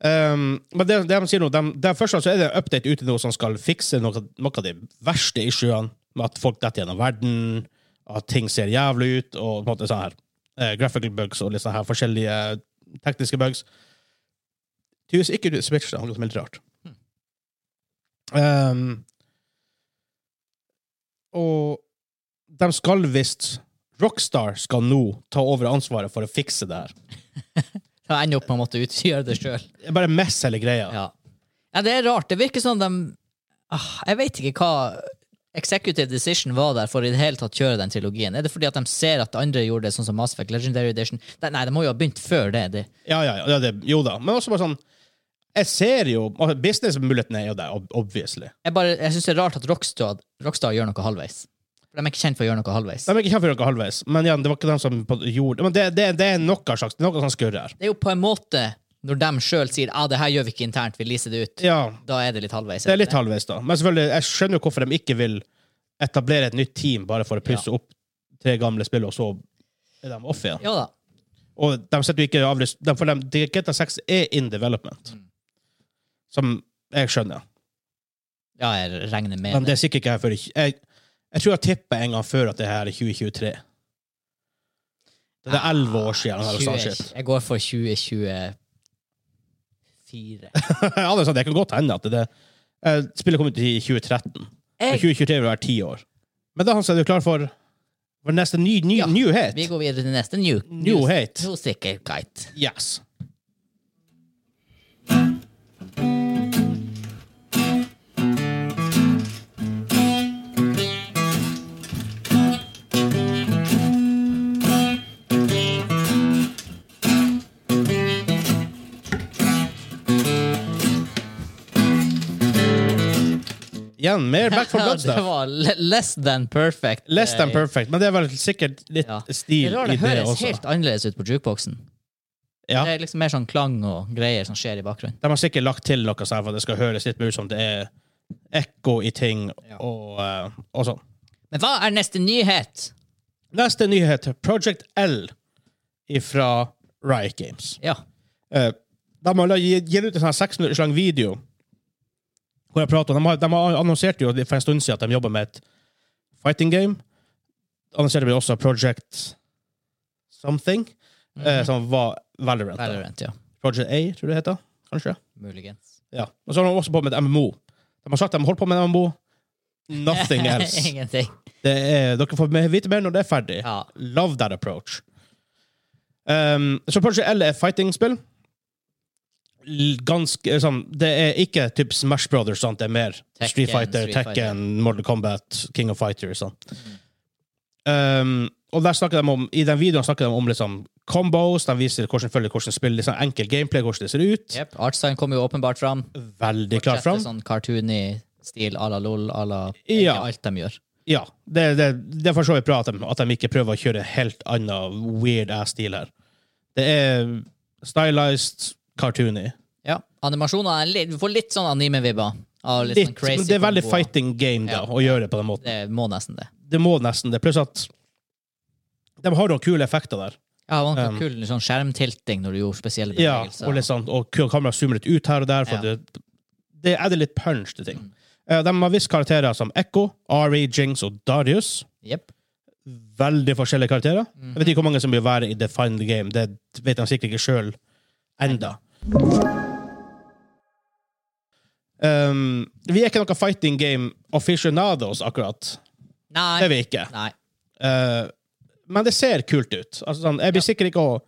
S2: Um, men det, det de sier nå, de, de første så er det en update ute nå som skal fikse noe, noe av de verste issuene, med at folk detter gjennom verden, at ting ser jævlig ut, og på en måte sånn her. eh, graphical bugs og litt sånn her forskjellige tekniske bugs. Tydeligvis ikke du- Switch, da, noe som er litt rart.
S1: Hm.
S2: Um, og de skal visst Rockstar skal nå ta over ansvaret for å fikse det her.
S1: Så jeg ender opp med å måtte ut- gjøre det sjøl.
S2: Jeg bare mess hele greia.
S1: Ja. ja, det er rart. Det virker som de ah, Jeg vet ikke hva Executive Decision var der for i det hele tatt kjøre den trilogien. Er det fordi at de ser at andre gjorde det, sånn som Mass Effect Legendary Edition? Nei, nei, de må jo ha begynt før det. De.
S2: Ja, ja, ja det, jo da. Men også bare sånn Jeg ser jo altså, Businessmulighetene er jo der, ob- obviously.
S1: Jeg, bare- jeg syns det er rart at Rockstar, Rockstar gjør noe halvveis. For De er ikke kjent for å gjøre noe halvveis.
S2: De er ikke kjent for noe halvveis, men igjen, det var ikke de som på- gjorde Men det, det, det er noe slags det er noe som skurrer her.
S1: Det er jo på en måte, når de sjøl sier ah, det her gjør vi ikke internt, vi leaser det ut,
S2: Ja,
S1: da er det litt halvveis.
S2: det er litt halvveis, da. Men selvfølgelig, jeg skjønner jo hvorfor de ikke vil etablere et nytt team bare for å pusse opp tre gamle spill, og så er de off igjen.
S1: Ja da.
S2: Og de setter jo ikke avlyst de, For dem- de, GTA 6 er in development.
S1: Mm.
S2: Som jeg skjønner.
S1: Ja, jeg regner med
S2: Men det er sikkert ikke her før i tj- jeg, jeg tror jeg tippa en gang før at det her er 2023. Det er elleve år siden. Eller sånn
S1: 20,
S2: shit. *laughs*
S1: jeg går for 2024.
S2: Alle sa det kan godt hende at det, eh, spillet kom ut i 2013. Og
S1: Jeg
S2: 2023 vil være ti år. Men da Hans, er du klar for, for neste ny, ny,
S1: Ja,
S2: nyhet?
S1: Vi går videre til neste new,
S2: Nyhet.
S1: New sikkerhet.
S2: Yes. Igjen, mer Back
S1: *laughs*
S2: for
S1: Ja,
S2: Blood
S1: det
S2: stuff.
S1: var le- less than perfect.
S2: Less than
S1: eh,
S2: perfect, men det er vel sikkert litt
S1: ja. det, er
S2: stil
S1: rart, det
S2: i det
S1: høres
S2: også.
S1: helt annerledes ut på jukeboksen.
S2: Ja.
S1: Det er liksom mer sånn klang og greier som skjer i bakgrunnen.
S2: De har sikkert lagt til noe sånn for at det skal høres litt mer ut som det er ekko i ting og, eh, og sånn.
S1: Men hva er neste nyhet?
S2: Neste nyhet Project L fra Riot Games.
S1: Ja.
S2: Eh, de har la- gi- gitt ut en sånn seks minutters lang video hvor jeg prater om de har, de har annonsert jo for en stund siden at de jobber med et fighting game. Annonserte vi også Project Something, eh, som var Valorant. da.
S1: Valorant, ja.
S2: Project A, tror du det heter. Kanskje.
S1: Muligens.
S2: Ja. Og så har de også på med et MMO. De har sagt de holder på med en MMO. Nothing
S1: *laughs*
S2: else.
S1: Ingenting.
S2: Det er, dere får me- vite mer når det er ferdig.
S1: Ja.
S2: Love that approach. Um, så Project L er fighting-spill. L- Ganske eh, sånn Det er ikke typ Smash Brothers, sant? det er mer
S1: Tekken,
S2: Street Fighter,
S1: Street Fighter. Mm.
S2: Tekken, Mortal Kombat, King of Fighters. Sånn. Um, og der snakker de om, I den videoen snakker de om liksom, combos, de viser hvordan følger hvordan spill, liksom, enkel gameplay, hvordan det ser ut.
S1: Yep. Artstein kom jo åpenbart fram.
S2: Veldig klart fram.
S1: Sånn cartoony stil à la LOL, à la
S2: Ja.
S1: egentlig alt de gjør.
S2: Ja, det, det, det er for så vidt bra at de, at de ikke prøver å kjøre helt annen weird ass-stil her. Det er stylized, cartoony.
S1: Ja. Animasjoner er litt, Du får litt sånn anime-vibber. Av litt,
S2: Litt,
S1: sånn crazy
S2: men det er veldig
S1: komboer.
S2: fighting game da,
S1: Ja.
S2: å gjøre det på den måten.
S1: Det må nesten det.
S2: Det må nesten det. Pluss at de har noen kule effekter der.
S1: Ja, det var noe
S2: Um,
S1: kul sånn skjermtilting når du gjorde spesielle
S2: Ja,
S1: bevegelser.
S2: og, litt sånn, og ku- kameraet zoomer litt ut her og der. For
S1: Ja. Mm.
S2: det, det er det litt punch til ting. Eh, De har visst karakterer som Echo, Ari, Jinx og Darius.
S1: Jep.
S2: veldig forskjellige karakterer. Jeg
S1: Mhm.
S2: vet ikke hvor mange som vil være i the final game. Det vet de sikkert ikke sjøl enda. Um, vi er ikke noe fighting game aficionados, akkurat. Det er
S1: Nei.
S2: vi ikke.
S1: Nei.
S2: Uh, men det ser kult ut. Altså, sånn, jeg blir sikkert ikke å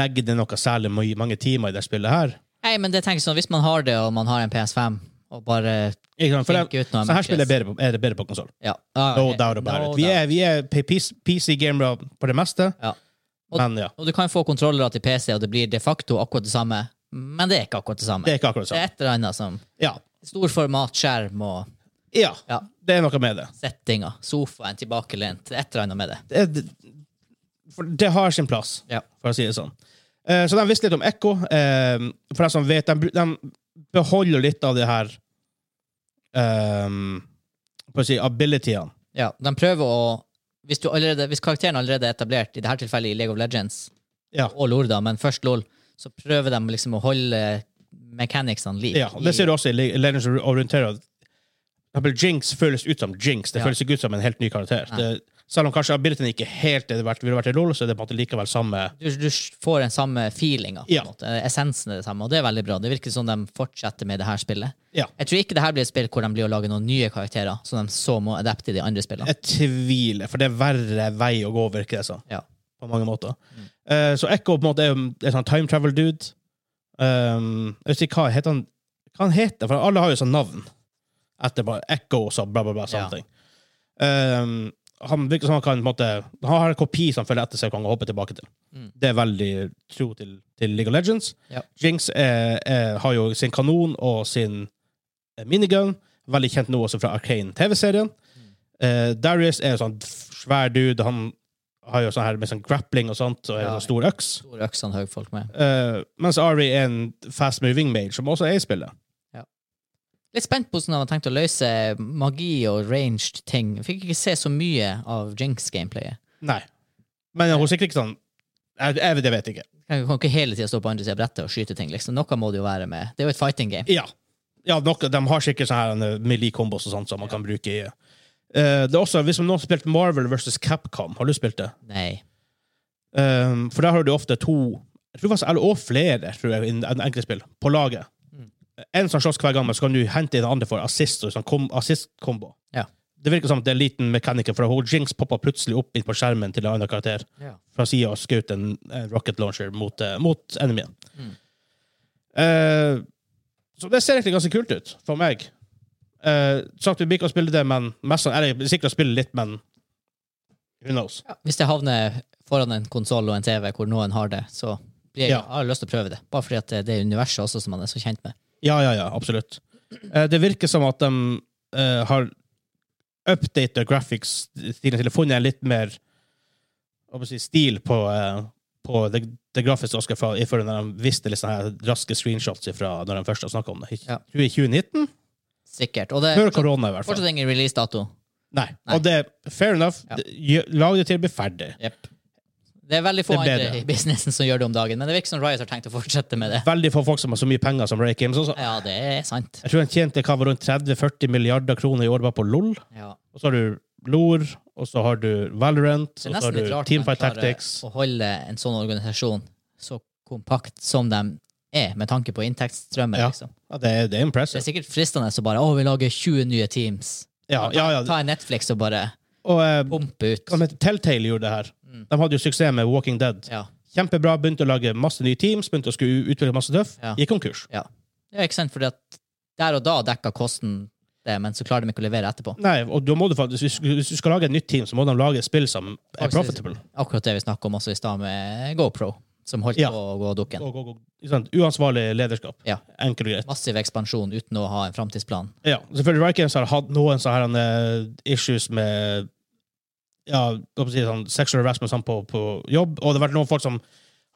S2: legge det noe særlig mye- mange timer i det spillet her.
S1: Nei, men det tenker jeg sånn, Hvis man har det, og man har en PS5, og bare
S2: Ikke sant? For
S1: Tenk
S2: det,
S1: ut noe
S2: så her
S1: matches.
S2: spillet er bedre på, er det bedre på konsoll.
S1: Ja. Ah,
S2: No
S1: ok.
S2: doubt about
S1: No
S2: it. Vi
S1: doubt.
S2: er, vi er PC-gamere på det meste,
S1: Ja.
S2: men ja.
S1: Og du kan få kontrollere til PC, og det blir de facto akkurat det samme. Men det er ikke akkurat det samme.
S2: Det er ikke
S1: Det
S2: akkurat
S1: er
S2: sånn.
S1: et eller annet som
S2: Ja.
S1: Storformat, skjerm og
S2: ja.
S1: ja,
S2: Det er noe med det.
S1: settinger. Sofaen tilbakelent. Det er Et eller annet med det.
S2: det, Eh, for det har sin plass,
S1: Ja.
S2: for å si det sånn. Eh, så de visste litt om Ekko. Eh, for de som vet, de, bru- de beholder litt av det her eh, på å si, abilityene.
S1: Ja, De prøver å hvis, du allerede, hvis karakteren allerede er etablert, i dette tilfellet i League of Legends
S2: Ja.
S1: og LOL, da, men først LOL, så prøver de liksom å holde mechanicsene like.
S2: ja, og det ser du også i Le- Legends of Runeterra. For eksempel Jinx føles ut som Jinx. Det
S1: Ja.
S2: føles ikke ut som en helt ny karakter.
S1: Nei.
S2: Det, selv om kanskje abilityen ikke helt er det vært, ville vært i roll, så er det på en måte likevel samme
S1: du, du får den samme feelinga.
S2: Ja.
S1: Essensen er det samme, og det er veldig bra. Det virker som de fortsetter med det her spillet.
S2: Ja.
S1: Jeg tror ikke det her blir et spill hvor de blir å lage noen nye karakterer, som de så må adapte i de andre spillene.
S2: Jeg tviler, for det er verre vei å gå, virker det som.
S1: Ja.
S2: på mange måter.
S1: Mm.
S2: Eh, så Echo på en måte er jo en sånn time travel dude. Um, jeg vet ikke hva heter han Hva han heter for alle har jo sånn navn. Etter bare Echo og så bla, bla,
S1: Ja.
S2: bla. Sånne ting. Um, han virker som han kan på en måte, Han har en kopi som følger etter seg og kan hoppe tilbake til.
S1: Mm.
S2: Det er veldig tro til, til League of Legends.
S1: Ja.
S2: Jinx er, er, har jo sin kanon og sin eh, minigun. Veldig kjent nå også fra Arcane TV-serien. Eh, Darius er jo sånn svær dude. Han har jo sånn her med sånn grappling og sånt, og er
S1: Ja.
S2: sånn stor øks.
S1: Store øksene høy folk med.
S2: Eh, mens Ari er en fast-moving mage, som også er i spillet.
S1: Litt spent på hvordan de har tenkt å løse magi og ranged ting. Jeg fikk ikke se så mye av Jinx-gameplayet.
S2: Nei. Men hun er sikkert ikke sånn jeg, jeg, Det vet jeg ikke.
S1: Kan kan ikke hele tida stå på andre sida av brettet og skyte ting. liksom. Noe må det jo være med. Det er jo et fighting game.
S2: Ja. ja nok, de har sikkert sånn sånne melee-kombos og sånt som man kan bruke i Eh, Det er også, Hvis noen har spilt Marvel versus Capcom, har du spilt det?
S1: Nei.
S2: Um, for der har du ofte to jeg tror faktisk, eller, og flere tror jeg, innen en enkeltspill på laget. En som slåss hver gang, men så kan du hente inn den andre for assist. og Sånn kom, assist-kombo.
S1: Ja.
S2: Det virker som at det er en liten mekaniker, for hun Jinx poppa plutselig opp inn på skjermen til en annen karakter
S1: Ja.
S2: fra sida og skjøt en, en rocket launcher mot, eh, mot enemyen.
S1: Mm.
S2: Eh, så det ser egentlig ganske kult ut for meg. Uh, sagt vi blir ikke å spille det, men mest sann- eller, sikkert å spille litt, men who knows?
S1: Hvis det havner foran en konsoll og en TV hvor noen har det, så blir jeg,
S2: Ja.
S1: har jeg lyst til å prøve det. Bare fordi at det, det er universet også som man er så kjent med.
S2: Ja, ja, ja, absolutt. Eh, det virker som at de eh, har updated graphics-stilen til å funnet en litt mer hva skal jeg si, stil på, eh, på det det grafiske Oscar fra i forrige, når de viste litt sånne her raske screenshots fra når de først har snakka om det.
S1: Ja.
S2: Tror jeg 2019?
S1: Sikkert. Og det
S2: Før
S1: er
S2: korona, i hvert fall.
S1: fortsatt ingen releasedato.
S2: Nei.
S1: Nei.
S2: Og det er fair enough.
S1: Ja.
S2: Det- gjø- Lag det til det blir ferdig.
S1: Jep. Det er veldig få
S2: Det ble
S1: andre
S2: det.
S1: i businessen som gjør det om dagen, men det virker som Riot har tenkt å fortsette med det.
S2: Veldig få folk som har så mye penger som Ray Games. Også.
S1: Ja, det er sant.
S2: Jeg tror han tjente hva var rundt 30-40 milliarder kroner i år bare på LOL.
S1: Ja.
S2: Og så har du LOR, og så har du Valorant,
S1: Det
S2: og
S1: er
S2: så har
S1: nesten
S2: du
S1: litt rart at de
S2: Teamfight
S1: klarer
S2: Tactics.
S1: å holde en sånn organisasjon så kompakt som de er, med tanke på inntektsstrømmen.
S2: Ja.
S1: Liksom.
S2: Ja, det, er, det er
S1: Det er
S2: impressive.
S1: sikkert fristende å bare Å, vi lager 20 nye teams.
S2: Ja, ja, ja.
S1: Ta en Netflix og bare
S2: Og eh,
S1: pumpe ut.
S2: hva heter det? Telltale gjorde det her.
S1: Mm.
S2: De hadde jo suksess med Walking Dead.
S1: Ja.
S2: Kjempebra, begynte å lage masse nye teams, begynte å skulle utvikle masse tøff.
S1: Ja.
S2: Gikk konkurs.
S1: ja. ja ikke sant? Fordi at der og da dekka kosten det, men så klarer de ikke å levere etterpå.
S2: Nei, og da må du faktisk, hvis, du- hvis du skal lage et nytt team, så må de lage et spill som er
S1: Faktisk-
S2: profitable.
S1: Akkurat det vi snakka om også i stad med GoPro, som holdt
S2: Ja.
S1: på å gå dukken.
S2: Og, og, og, ikke sant? Uansvarlig lederskap.
S1: Ja.
S2: Enkelt og greit.
S1: Massiv ekspansjon uten å ha en framtidsplan. *laughs*
S2: Ja, selvfølgelig Riot Games har hatt noen sånne her, eh, issues med ja, hva skal jeg si, sånn sexual harassment sånn, på, på jobb, og det har vært noen folk som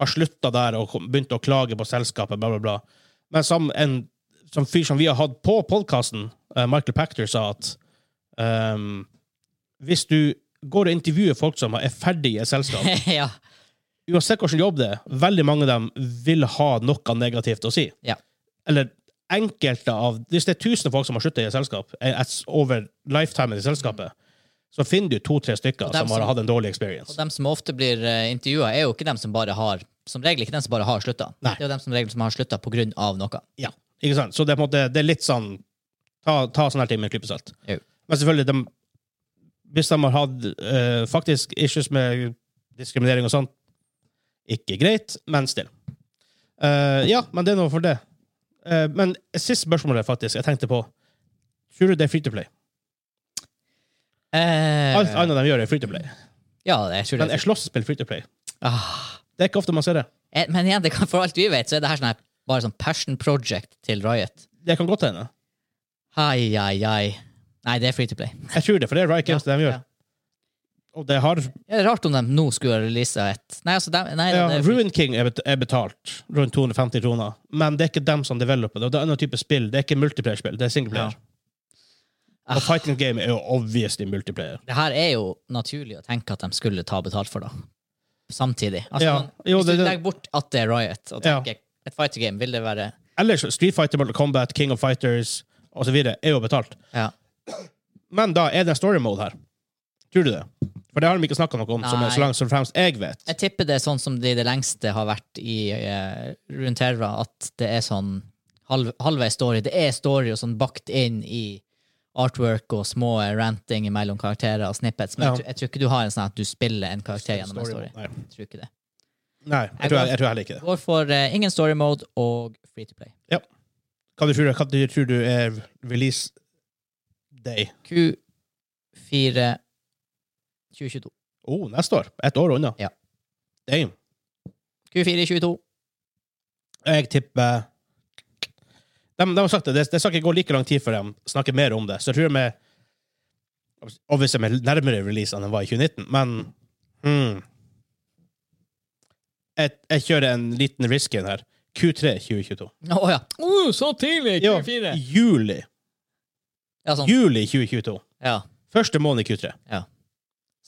S2: har slutta der og kom- begynt å klage på selskapet, bla, bla, bla. Men som en som fyr som vi har hatt på podkasten, Michael Pachter, sa at ehm, hvis du går og intervjuer folk som er ferdig i et selskap,
S1: ja.
S2: uansett hvilken jobb det er, veldig mange av dem vil ha noe negativt å si.
S1: Ja.
S2: Eller enkelte av Hvis det er tusen folk som har sluttet i et selskap, eh, et- over lifetimen i selskapet, så finner du to-tre stykker
S1: Og dem
S2: som har
S1: som-
S2: hatt en dårlig experience.
S1: Og dem som ofte blir uh, intervjua, er jo ikke dem som bare har Som regel ikke dem som bare har slutta. Det
S2: Nei.
S1: er jo dem som regel som har slutta på grunn av noe.
S2: Ja, ikke sant? Så det er, på en måte, det er litt sånn Ta, ta sånne her ting med en klype salt.
S1: Jo.
S2: Men selvfølgelig, de, hvis de har hatt eh, faktisk issues med diskriminering og sånt, ikke greit, men still. Eh, ja, men det er noe for det. Eh, men siste spørsmål er faktisk, jeg tenkte på Tror du det er free to play?
S1: Eh,
S2: Alt annet de gjør, er free to play.
S1: ja, det, jeg tror
S2: Men
S1: det.
S2: jeg slåss spiller free to play.
S1: Ah.
S2: Det er ikke ofte man ser det.
S1: Eh, men igjen, det kan, for alt vi vet, så er det her sånn her, bare sånn passion project til Riot.
S2: Det kan godt hende.
S1: Hai, hai, hai. Nei, det er free to play.
S2: Jeg tror det, for det er Riot Games det de gjør.
S1: Ja.
S2: Og det har
S1: Ja, det er rart om de nå skulle release et Nei, altså, dem- nei,
S2: ja,
S1: det er free-
S2: Ruin King er bet- er betalt rundt 250 kroner, men det er ikke dem som developer det. Og det er en annen type spill. Det er ikke multiplayer-spill, det er singleplayer.
S1: Ja.
S2: Og fighting game er jo obviously multiplayer.
S1: Det her er jo naturlig å tenke at de skulle ta betalt for, da. Samtidig. Altså,
S2: Ja.
S1: man,
S2: Jo,
S1: hvis
S2: det-
S1: du
S2: det-
S1: legger bort at det er Riot, og
S2: Ja.
S1: tenker et fightergame, vil det være
S2: Ellers Street Fighter, Mortal Kombat, King of Fighters osv. er jo betalt.
S1: Ja.
S2: Men da er det en story mode her. Tror du det? For det har de ikke snakka noe om, som er
S1: Nei.
S2: så langt som fremst jeg vet.
S1: Jeg tipper det er sånn som det i det lengste har vært i eh, rundt Terra, at det er sånn halv, halvveis story. Det er story og sånn bakt inn i artwork og små ranting mellom karakterer og snippets, men
S2: Ja.
S1: jeg, tror- jeg tror ikke du har en sånn at du spiller en karakter gjennom en story.
S2: Nei,
S1: Jeg tror ikke det.
S2: Nei jeg, tror, jeg, jeg tror heller ikke det.
S1: Går for eh, ingen story mode og free to play.
S2: Hva du tror, hva du tror du er release day?
S1: Q4 2022.
S2: Oh, neste år. Ett år unna.
S1: Ja.
S2: Damn.
S1: Q4 2022.
S2: Jeg tipper de, de har sagt det, det, det skal ikke gå like lang tid før de snakker mer om det. Så jeg tror de er Obviously de er nærmere release enn de var i 2019, men hmm. jeg, jeg kjører en liten risk in her. Q3 2022.
S1: Å ja. så tidlig!
S2: Ja, juli.
S1: Ja, sånn.
S2: Juli 2022.
S1: ja.
S2: Første måned i Q3.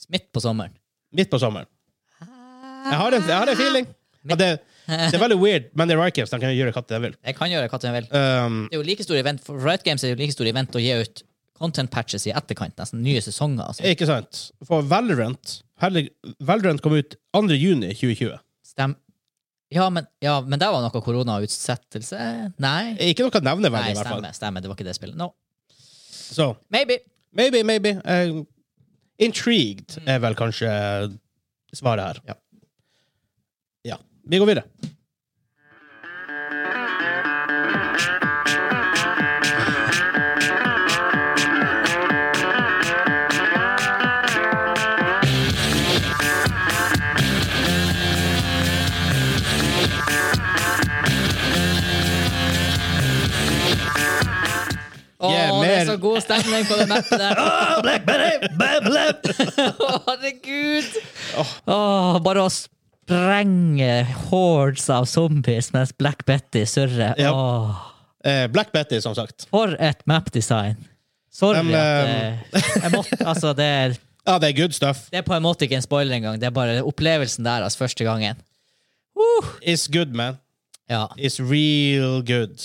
S1: Midt på sommeren.
S2: Midt på sommeren. Jeg har en, jeg har en feeling. Ja, det, det er veldig weird, men det er Rycams. De kan gjøre hva de vil.
S1: Jeg kan gjøre hva som jeg vil.
S2: Um,
S1: Det er jo like stor event For Riot Games er det jo like stor event å gi ut content patches i etterkant, nesten nye sesonger. Altså.
S2: Ikke sant? For Valorant herlig, Valorant kom ut 2. juni 2020.
S1: Stem. Ja, men, ja, men der var noe koronautsettelse? Nei?
S2: Ikke noe nevneverdig,
S1: Nei,
S2: i hvert fall.
S1: stemmer. stemmer. Det var ikke det spillet. No.
S2: Så
S1: Maybe.
S2: maybe, maybe. eh, intrigued er vel kanskje eh, svaret her.
S1: Mm. Ja.
S2: Ja. Vi går videre.
S1: Å,
S2: Yeah,
S1: det
S2: mer.
S1: er så god stemning på det mappet
S2: *laughs*
S1: der. *laughs* Å, herregud! Åh, bare å s- sprenger hordes av zombies mens Black Betty surrer.
S2: Ja.
S1: Åh,
S2: Eh, Black Betty, som sagt.
S1: for et mapdesign! Sorry
S2: Dem,
S1: at det, jeg måtte, altså det, er,
S2: Ja, det er good stuff.
S1: det er på en måte ikke en spoiler engang. Det er bare opplevelsen der altså, første gangen.
S2: It's good, man.
S1: Ja.
S2: It's real good.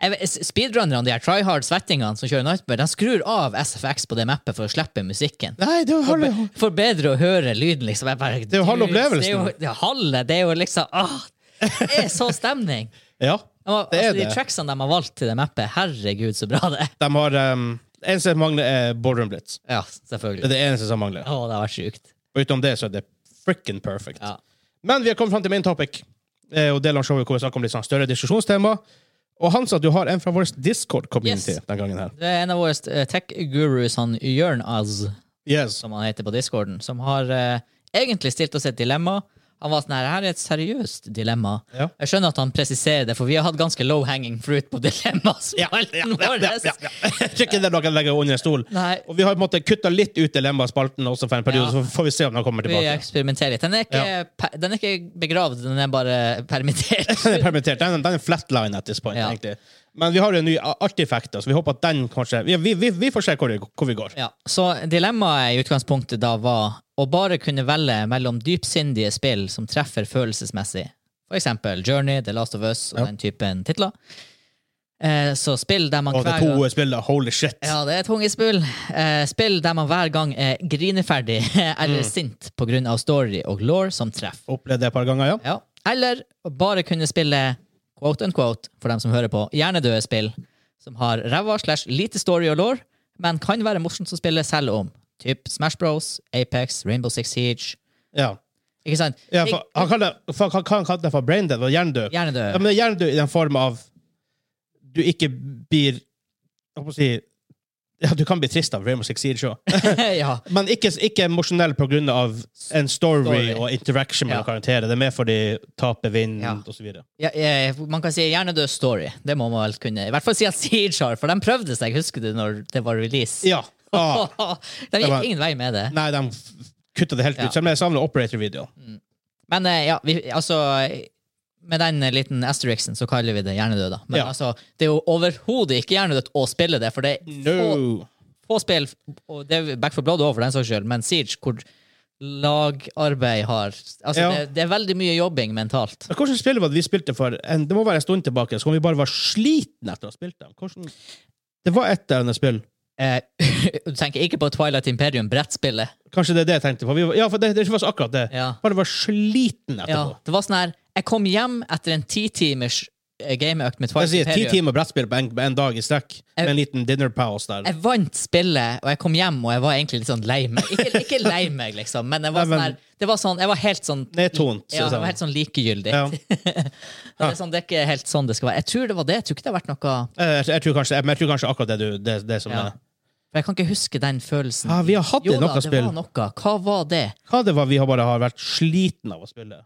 S1: Jeg vet- s- Speedrunnerne, de her tryhard-svettingene som kjører Nightmare, de skrur av SFX på det mappet for å slippe musikken.
S2: Nei, det er jo
S1: For,
S2: halve
S1: be, for bedre å høre lyden, liksom. Jeg bare,
S2: er jo halve
S1: dude,
S2: opplevelsen.
S1: Det er jo, det er halve, det er jo liksom ah, Det er så stemning!
S2: *laughs* Ja,
S1: Og,
S2: det
S1: altså,
S2: er
S1: de
S2: det.
S1: tracksene de har valgt til det mappet, herregud, så bra det er!
S2: De har um, Eneste som mangler, er Border Blitz.
S1: Ja,
S2: Det er
S1: selvfølgelig.
S2: det eneste som mangler.
S1: Å, det har vært sjukt.
S2: Og utenom det, så er det frikken perfect.
S1: Ja.
S2: Men vi har kommet fram til main topic, eh, og delen av showet hvor vi snakker om litt sånn større diskusjonstema. Og Hans, at du har en fra vår Discord-community
S1: Yes.
S2: den gangen her.
S1: Det er en av våre eh, tech-gurus, han Jørn Az,
S2: Yes.
S1: som han heter på discorden, som har eh, egentlig stilt oss et dilemma. Han var sånn her, her er et seriøst dilemma.
S2: Ja.
S1: Jeg skjønner at han presiserer det, for vi har hatt ganske low hanging fruit på *laughs* dilemmas.
S2: Ja, ja, ja, ja, ja, ja. *laughs* Jeg tror ikke det er noe jeg legger under en stol.
S1: Nei.
S2: Og vi har på en måte kutta litt ut dilemma-spalten også for en periode,
S1: Ja.
S2: så får vi se om den kommer
S1: Vi
S2: tilbake.
S1: eksperimenterer litt. Den er, ikke,
S2: Ja.
S1: pe- den er ikke begravd, den er bare
S2: *laughs*
S1: permittert.
S2: *laughs* Den er permittert. Den, den er flatline at this point,
S1: Ja.
S2: egentlig. Men vi har jo en ny artifact, så vi håper at den kanskje Vi, vi, vi, vi får se hvor, det- hvor vi går.
S1: Ja, så dilemmaet i utgangspunktet da var å bare kunne velge mellom dypsindige spill som treffer følelsesmessig, for eksempel Journey, The Last of Us og
S2: Ja.
S1: den typen titler. Eh, så spill der man
S2: Og det
S1: hver
S2: er to
S1: gang
S2: spill, da. holy shit.
S1: Ja, det er tunge spill. Eh, spill der man hver gang er grineferdig *laughs*
S2: Mm.
S1: eller sint på grunn av story og law som treffer.
S2: Opplevd det et par ganger, ja.
S1: Ja. Eller å bare kunne spille quote unquote, for dem som hører på, hjernedøde spill som har ræva slash lite story og law, men kan være morsomt å spille selv om. Typ Smash Bros, Apex, Rainbow Six Siege.
S2: ja.
S1: Ikke sant?
S2: Ja, for, han kaller for, han- han kalte det for brain dead, og hjernedød. Ja,
S1: Hjernedød.
S2: men hjernedød i den form av du ikke blir Jeg holdt på å si ja, Du kan bli trist av Raymond Six
S1: *laughs*
S2: Siege også.
S1: ja.
S2: Men ikke, ikke emosjonell på grunn av en story,
S1: Story.
S2: og interaction mellom
S1: Ja.
S2: karakterer. Det er mer fordi taper, vinner
S1: Ja.
S2: og så videre.
S1: Ja, eh, man kan si hjernedød story. Det må man vel kunne. I hvert fall si at Siege har, for de prøvde seg, husker du, når det var release?
S2: Ja.
S1: *laughs*
S2: Ah.
S1: de gikk
S2: var-
S1: ingen vei med det.
S2: Nei, de f- kutta det helt
S1: Ja. Mm.
S2: ut. Selv om jeg savner operator-video.
S1: Men eh, ja, vi, altså Med den eh, liten asterixen så kaller vi det hjernedød, da. Men
S2: Ja.
S1: altså, det er jo overhodet ikke hjernedødt å spille det, for det er få,
S2: No.
S1: få spill, og det er Back for Blood òg, for den saks skyld, men Siege, hvor lagarbeid har Altså,
S2: Ja.
S1: det, det er veldig mye jobbing mentalt.
S2: Men Hvordan spill var det vi spilte for en, Det må være en stund tilbake, så kan vi bare var slitne etter å ha spilt dem. Hvordan, det var et eller annet spill.
S1: Eh, *laughs* du tenker ikke på Twilight Imperium, brettspillet.
S2: Kanskje det er det jeg tenkte på. Vi var, ja, for det, det var så akkurat det.
S1: Ja.
S2: Bare var sliten
S1: Ja,
S2: etterpå.
S1: det var sånn her Jeg kom hjem etter en titimers eh, gameøkt med
S2: Jeg
S1: Twilight
S2: sier ti
S1: Imperium.
S2: timer brettspill på en, på en dag i strekk, med en liten dinner pause der.
S1: Jeg vant spillet, og jeg kom hjem og jeg var egentlig litt sånn lei meg. Ikke, ikke lei meg, liksom, men jeg var,
S2: *laughs* Nei,
S1: sånn
S2: men-
S1: her, det var sånn, jeg var helt sånn
S2: Nedtont.
S1: ja,
S2: synes
S1: jeg var
S2: jeg.
S1: helt sånn likegyldig.
S2: Ja.
S1: det, er sånn, det er ikke helt sånn det skal være. Jeg tror det var det. Jeg tror ikke det har vært noe
S2: Eh, Jeg, jeg, tror kanskje, jeg, men jeg tror kanskje akkurat det du det, det som
S1: Ja.
S2: er.
S1: For jeg kan ikke huske den følelsen.
S2: Ja, vi har hatt det
S1: jo
S2: i
S1: da,
S2: noen
S1: det
S2: spill.
S1: var noe. Hva var det?
S2: Hva det var vi har bare har vært sliten av å spille?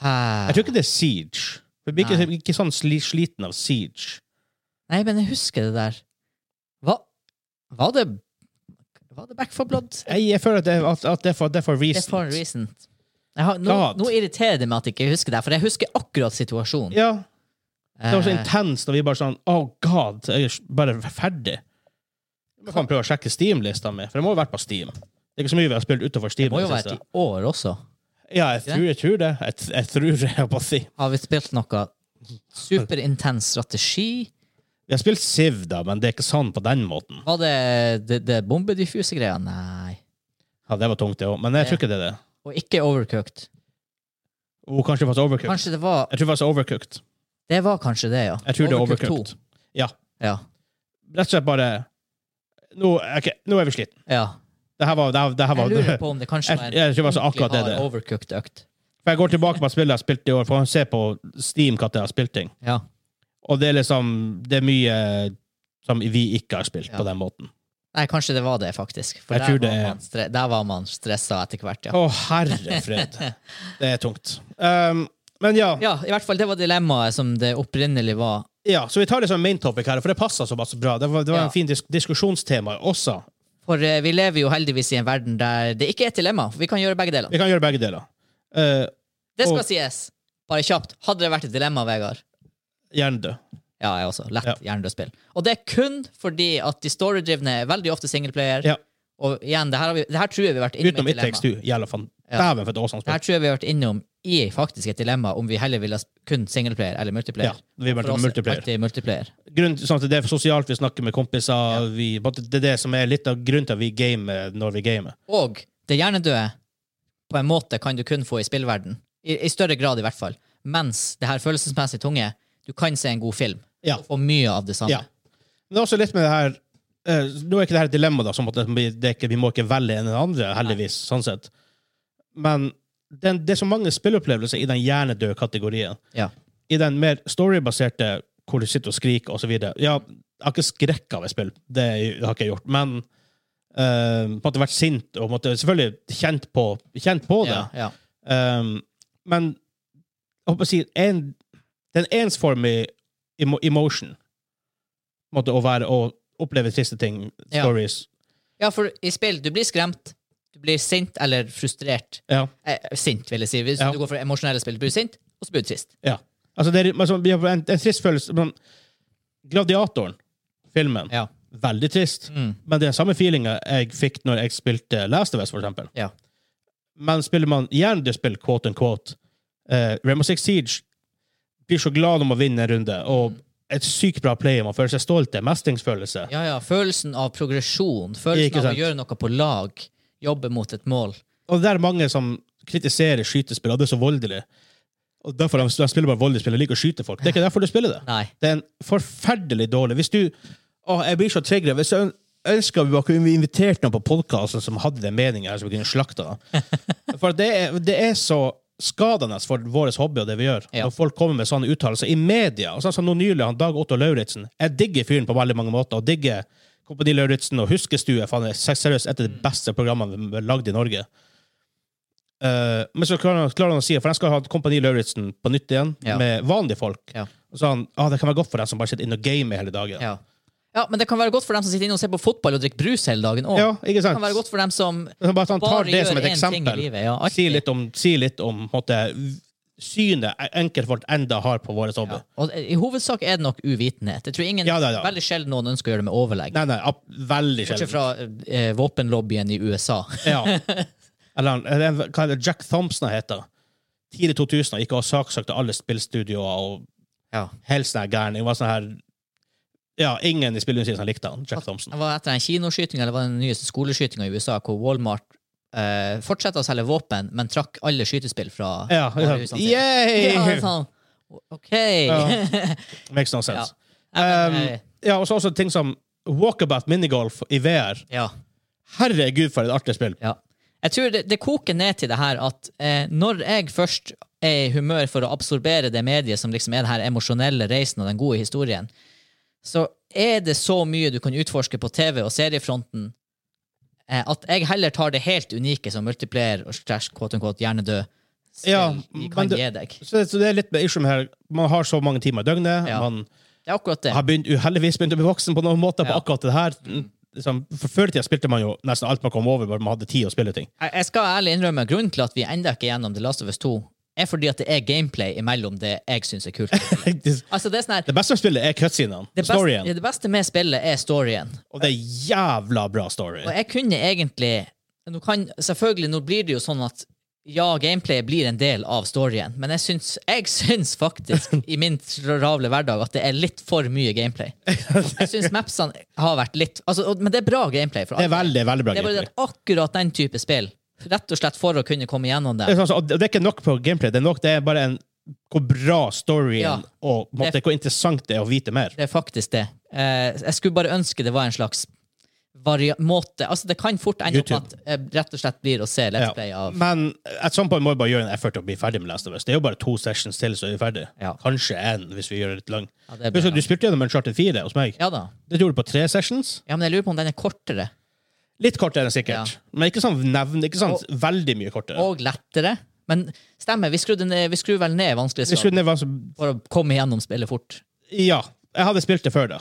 S1: Hæ?
S2: Jeg tror ikke det er Siege. Vi blir ikke, ikke sånn sli, sliten av Siege.
S1: Nei, men jeg husker det der. Hva Var det Var det Back for Blood?
S2: Jeg, jeg føler at det, at, at det, er for, det er for
S1: Det er
S2: recent.
S1: for recent. Jeg har, nå,
S2: God.
S1: nå irriterer det meg at jeg ikke husker det, for jeg husker akkurat situasjonen.
S2: Ja, det var så
S1: Eh,
S2: intenst, og vi bare sånn Oh god, jeg er bare ferdig. Jeg kan prøve å sjekke Steam-lista mi, for det må jo være på Steam. Det er ikke så mye vi har spilt utenfor Steam.
S1: Det må
S2: i
S1: jo
S2: det siste.
S1: være et år også.
S2: Ja, jeg tror, jeg tror det. Jeg, jeg tror det, jeg bare si.
S1: Har vi spilt noe superintens strategi?
S2: Vi har spilt Siv, da, men det er ikke sånn på den måten.
S1: Var det det, det bombediffuse-greia? Nei.
S2: Ja, Det var tungt, det òg, men jeg tror ikke det er det.
S1: Og ikke overcooked.
S2: Oh, kanskje det var så overcooked.
S1: Kanskje det var
S2: Jeg tror det var så overcooked.
S1: Det var kanskje det, ja.
S2: Jeg tror det er
S1: Overcooked
S2: overcooked.
S1: 2.
S2: Ja.
S1: Ja.
S2: Rett og slett bare Nå, ok, nå er vi sliten.
S1: ja.
S2: Det her var, det her, det her
S1: Jeg
S2: var *laughs*
S1: lurer på om det kanskje
S2: Jeg-
S1: var en
S2: jeg tror det var så akkurat det
S1: ordentlig
S2: det.
S1: hard overcooked-økt.
S2: For Jeg går tilbake på spillet jeg har spilt i år, for å se på Steam hva jeg har spilt ting.
S1: Ja.
S2: Og det er liksom Det er mye som vi ikke har spilt
S1: Ja.
S2: på den måten.
S1: Nei, kanskje det var det, faktisk. For
S2: Jeg
S1: der,
S2: tror det
S1: var
S2: er-
S1: man stre der var man stressa etter hvert, ja.
S2: Å, herre fred. det er tungt. Um, men ja,
S1: Ja, i hvert fall det var dilemmaet som det opprinnelig var.
S2: Ja, så vi tar det som main topic her, for det passer såpass bra. Det var, det var
S1: Ja.
S2: en fin dis diskusjonstema også.
S1: For eh, vi lever jo heldigvis i en verden der det ikke er et dilemma. Vi kan gjøre begge deler.
S2: Vi kan gjøre begge deler. Eh,
S1: Det skal
S2: Og-
S1: sies. Bare kjapt. Hadde det vært et dilemma, Vegard
S2: Hjernedød.
S1: Ja, jeg også. Lett
S2: Ja.
S1: hjernedødsspill. Og det er kun fordi at de storydrivne er veldig ofte singleplayer.
S2: Ja.
S1: Og igjen, det her, har vi, det her tror jeg vi har vært innom
S2: Utenom
S1: i et
S2: It Takes
S1: dilemma.
S2: Two. Jævla fan.
S1: Ja.
S2: Dæven, for et awesome
S1: Det
S2: spill.
S1: her tror jeg vi har vært innom i faktisk et dilemma om vi heller ville ha sp- kun singleplayer eller multiplayer.
S2: Ja, vi har vært
S1: For oss
S2: om
S1: er
S2: multiplayer.
S1: alltid multiplayer.
S2: Grunnen til sånn at det er sosialt, vi snakker med kompiser vi, Det er det som er litt av grunnen til at vi gamer når vi gamer.
S1: Og det hjernedøde på en måte kan du kun få i spillverden. I, I større grad, i hvert fall. Mens det her følelsesmessig tunge, du kan se en god film.
S2: Ja.
S1: Og få mye av det samme.
S2: Ja. Men det er også litt med det her eh, Nå er ikke det her et dilemma, da, som at det det er ikke, vi må ikke velge en eller andre, heldigvis, sånn sett. Men den, det er så mange spillopplevelser i den hjernedøde kategorien.
S1: Ja.
S2: I den mer storybaserte, hvor du sitter og skriker og så videre. Ja, jeg har ikke skrekk av et spill, det har ikke jeg gjort, men eh, på en måte vært sint og på en måte selvfølgelig kjent på, kjent på det.
S1: Ja, ja.
S2: Um, men jeg håper å si en, den ensformige emo emotion på en måte, å være å oppleve triste ting,
S1: Ja.
S2: stories
S1: ja, for i spill, du blir skremt, du blir sint eller frustrert.
S2: Ja.
S1: Eh, sint, vil jeg si. Hvis
S2: Ja.
S1: du går for emosjonelle spill, blir du sint, og så blir du trist.
S2: ja. Altså, det er altså, vi har en, en trist følelse men Gladiatoren, filmen,
S1: Ja.
S2: veldig trist.
S1: Mm.
S2: Men det er den samme feelinga jeg fikk når jeg spilte Last of Us, for eksempel.
S1: Ja.
S2: Men spiller man hjernedødsspill, quote unquote, eh, Rainbow Six Siege blir så glad om å vinne en runde,
S1: Mm.
S2: og et sykt bra play, man føler seg stolt, det er mestringsfølelse.
S1: ja, ja. Følelsen av progresjon, følelsen
S2: Ikke
S1: av å
S2: sant.
S1: gjøre noe på lag, jobbe mot et mål.
S2: Og det er mange som kritiserer skytespill, og det er så voldelig. Og derfor de, de spiller bare voldelige spill og liker å skyte folk. Det er ikke derfor du spiller det.
S1: Nei.
S2: Det er en forferdelig dårlig Hvis du Å, jeg blir så trigger. Hvis jeg ønsker vi bare kunne invitert noen på podkasten som hadde den meningen her, så vi kunne slakta det. For det er, det er så skadende for vår hobby og det vi gjør,
S1: Ja.
S2: når folk kommer med sånne uttalelser i media. og Sånn som nå nylig, han Dag Otto Lauritzen. Jeg digger fyren på veldig mange måter, og digger Kompani Lauritzen og Huskestue. Faen, det er seriøst et av
S1: Mm.
S2: de beste programmene vi har lagd i Norge. Eh, men så klarer han, klarer han å si For jeg skal ha Kompani Lauritzen på nytt igjen,
S1: Ja.
S2: med vanlige folk.
S1: Ja.
S2: Og så sa han ah, det kan være godt for dem som bare sitter inne og gamer hele dagen.
S1: Ja. ja, men det kan være godt for dem som sitter inne og ser på fotball og drikker brus hele dagen. Og
S2: Ja, ikke
S1: det
S2: sant?
S1: kan være godt for dem som
S2: Så bare at han tar
S1: bare
S2: det som
S1: gjør én ting
S2: et
S1: i
S2: eksempel.
S1: livet. Ja,
S2: Si
S1: artig.
S2: litt om, si litt om på en måte, synet e- enkeltfolk enda har på våre hobby.
S1: Ja. Og I hovedsak er det nok uvitenhet. Jeg tror ingen,
S2: Ja, ja, ja.
S1: Veldig sjelden noen ønsker å gjøre det med overlegg.
S2: Nei, nei, ab- veldig
S1: Bortsett
S2: sjelden.
S1: fra eh, våpenlobbyen i USA.
S2: Ja. Eller han- er det- hva er det Jack Thompson heter? Tidlig 2000 gikk og saksøkte alle spillstudioer og
S1: Ja.
S2: helt sånn her gæren. Det var sånn her Ja, ingen i spillindustrien som likte han, Jack Thompson.
S1: Det var etter den kinoskytinga eller var det den nyeste skoleskytinga i USA, hvor Walmart eh, fortsatte å selge våpen, men trakk alle skytespill fra
S2: Ja,
S1: varehusene
S2: liksom.
S1: sine. *laughs* Ja, det er
S2: Yay!
S1: sånn. OK.
S2: Makes no sense.
S1: *laughs* Ja, men,
S2: Um,
S1: eh,
S2: ja, og så også ting som Walkabout minigolf i VR.
S1: ja.
S2: Herregud, for et artig spill.
S1: Ja. Jeg tror det, det koker ned til det her at eh, når jeg først er i humør for å absorbere det mediet som liksom er det her emosjonelle reisen og den gode historien, så er det så mye du kan utforske på TV og seriefronten eh, at jeg heller tar det helt unike som multiplayer og slash quote unquote hjernedød spill
S2: Ja,
S1: vi
S2: men
S1: kan
S2: du-
S1: gi deg.
S2: Så det, så det er litt med issue med her. Man har så mange timer i døgnet.
S1: Ja.
S2: Man
S1: Det er akkurat det.
S2: har begynt, uheldigvis begynt å bli voksen på noen måter på
S1: Ja.
S2: akkurat det her. Liksom, for før i tida spilte man jo nesten alt man kom over, bare man hadde tid å
S1: *laughs*
S2: spille ting.
S1: Jeg, jeg skal ærlig innrømme grunnen til at vi enda ikke er gjennom The Last of Us 2, er fordi at det er gameplay imellom det jeg syns er
S2: *laughs*
S1: kult.
S2: det
S1: altså det er sånn her
S2: beste spillet er cutscenene.
S1: det beste,
S2: Storyen.
S1: ja, det beste med spillet er storyen.
S2: Og det er jævla bra story.
S1: Og jeg kunne egentlig nå kan, Selvfølgelig, nå blir det jo sånn at ja, gameplay blir en del av storyen, men jeg syns, jeg syns faktisk
S2: *laughs*
S1: i min travle hverdag at det er litt for mye gameplay. Jeg syns mapsene har vært litt altså, og, Men det er bra gameplay. For
S2: Det er veldig, veldig bra
S1: det er bare
S2: gameplay.
S1: det at akkurat den type spill, rett og slett for å kunne komme gjennom
S2: Det
S1: det
S2: er, sånn, så- og det er ikke nok på gameplay, det er, nok, det er bare en, hvor bra storyen
S1: Ja.
S2: og på en måte, hvor interessant det er å vite mer.
S1: Det er faktisk det. Eh, jeg skulle bare ønske det var en slags varia måte Altså, det kan fort ende opp at
S2: YouTube.
S1: eh, rett og slett blir å se Let's
S2: Ja.
S1: Play av
S2: Men at some point må vi bare gjøre en effort til å bli ferdig med Last of Us. Det er jo bare to sessions til, så er vi ferdig.
S1: Ja.
S2: Kanskje én, hvis vi gjør det litt lang.
S1: Ja, det blir
S2: Husk at
S1: langt.
S2: du spilte gjennom Uncharted 4 hos meg.
S1: Ja da.
S2: Det gjorde du på tre sessions.
S1: Ja, men jeg lurer på om den er kortere.
S2: Litt kortere, sikkert. Men ikke sånn nevn, ikke sånn veldig mye kortere.
S1: og lettere. Men stemmer, vi skrudde, ned, vi skrudde vel ned
S2: Vi skulle
S1: vanskelighetsgraden
S2: ned hva som
S1: for å komme igjennom spillet fort.
S2: Ja. Jeg hadde spilt det før, da.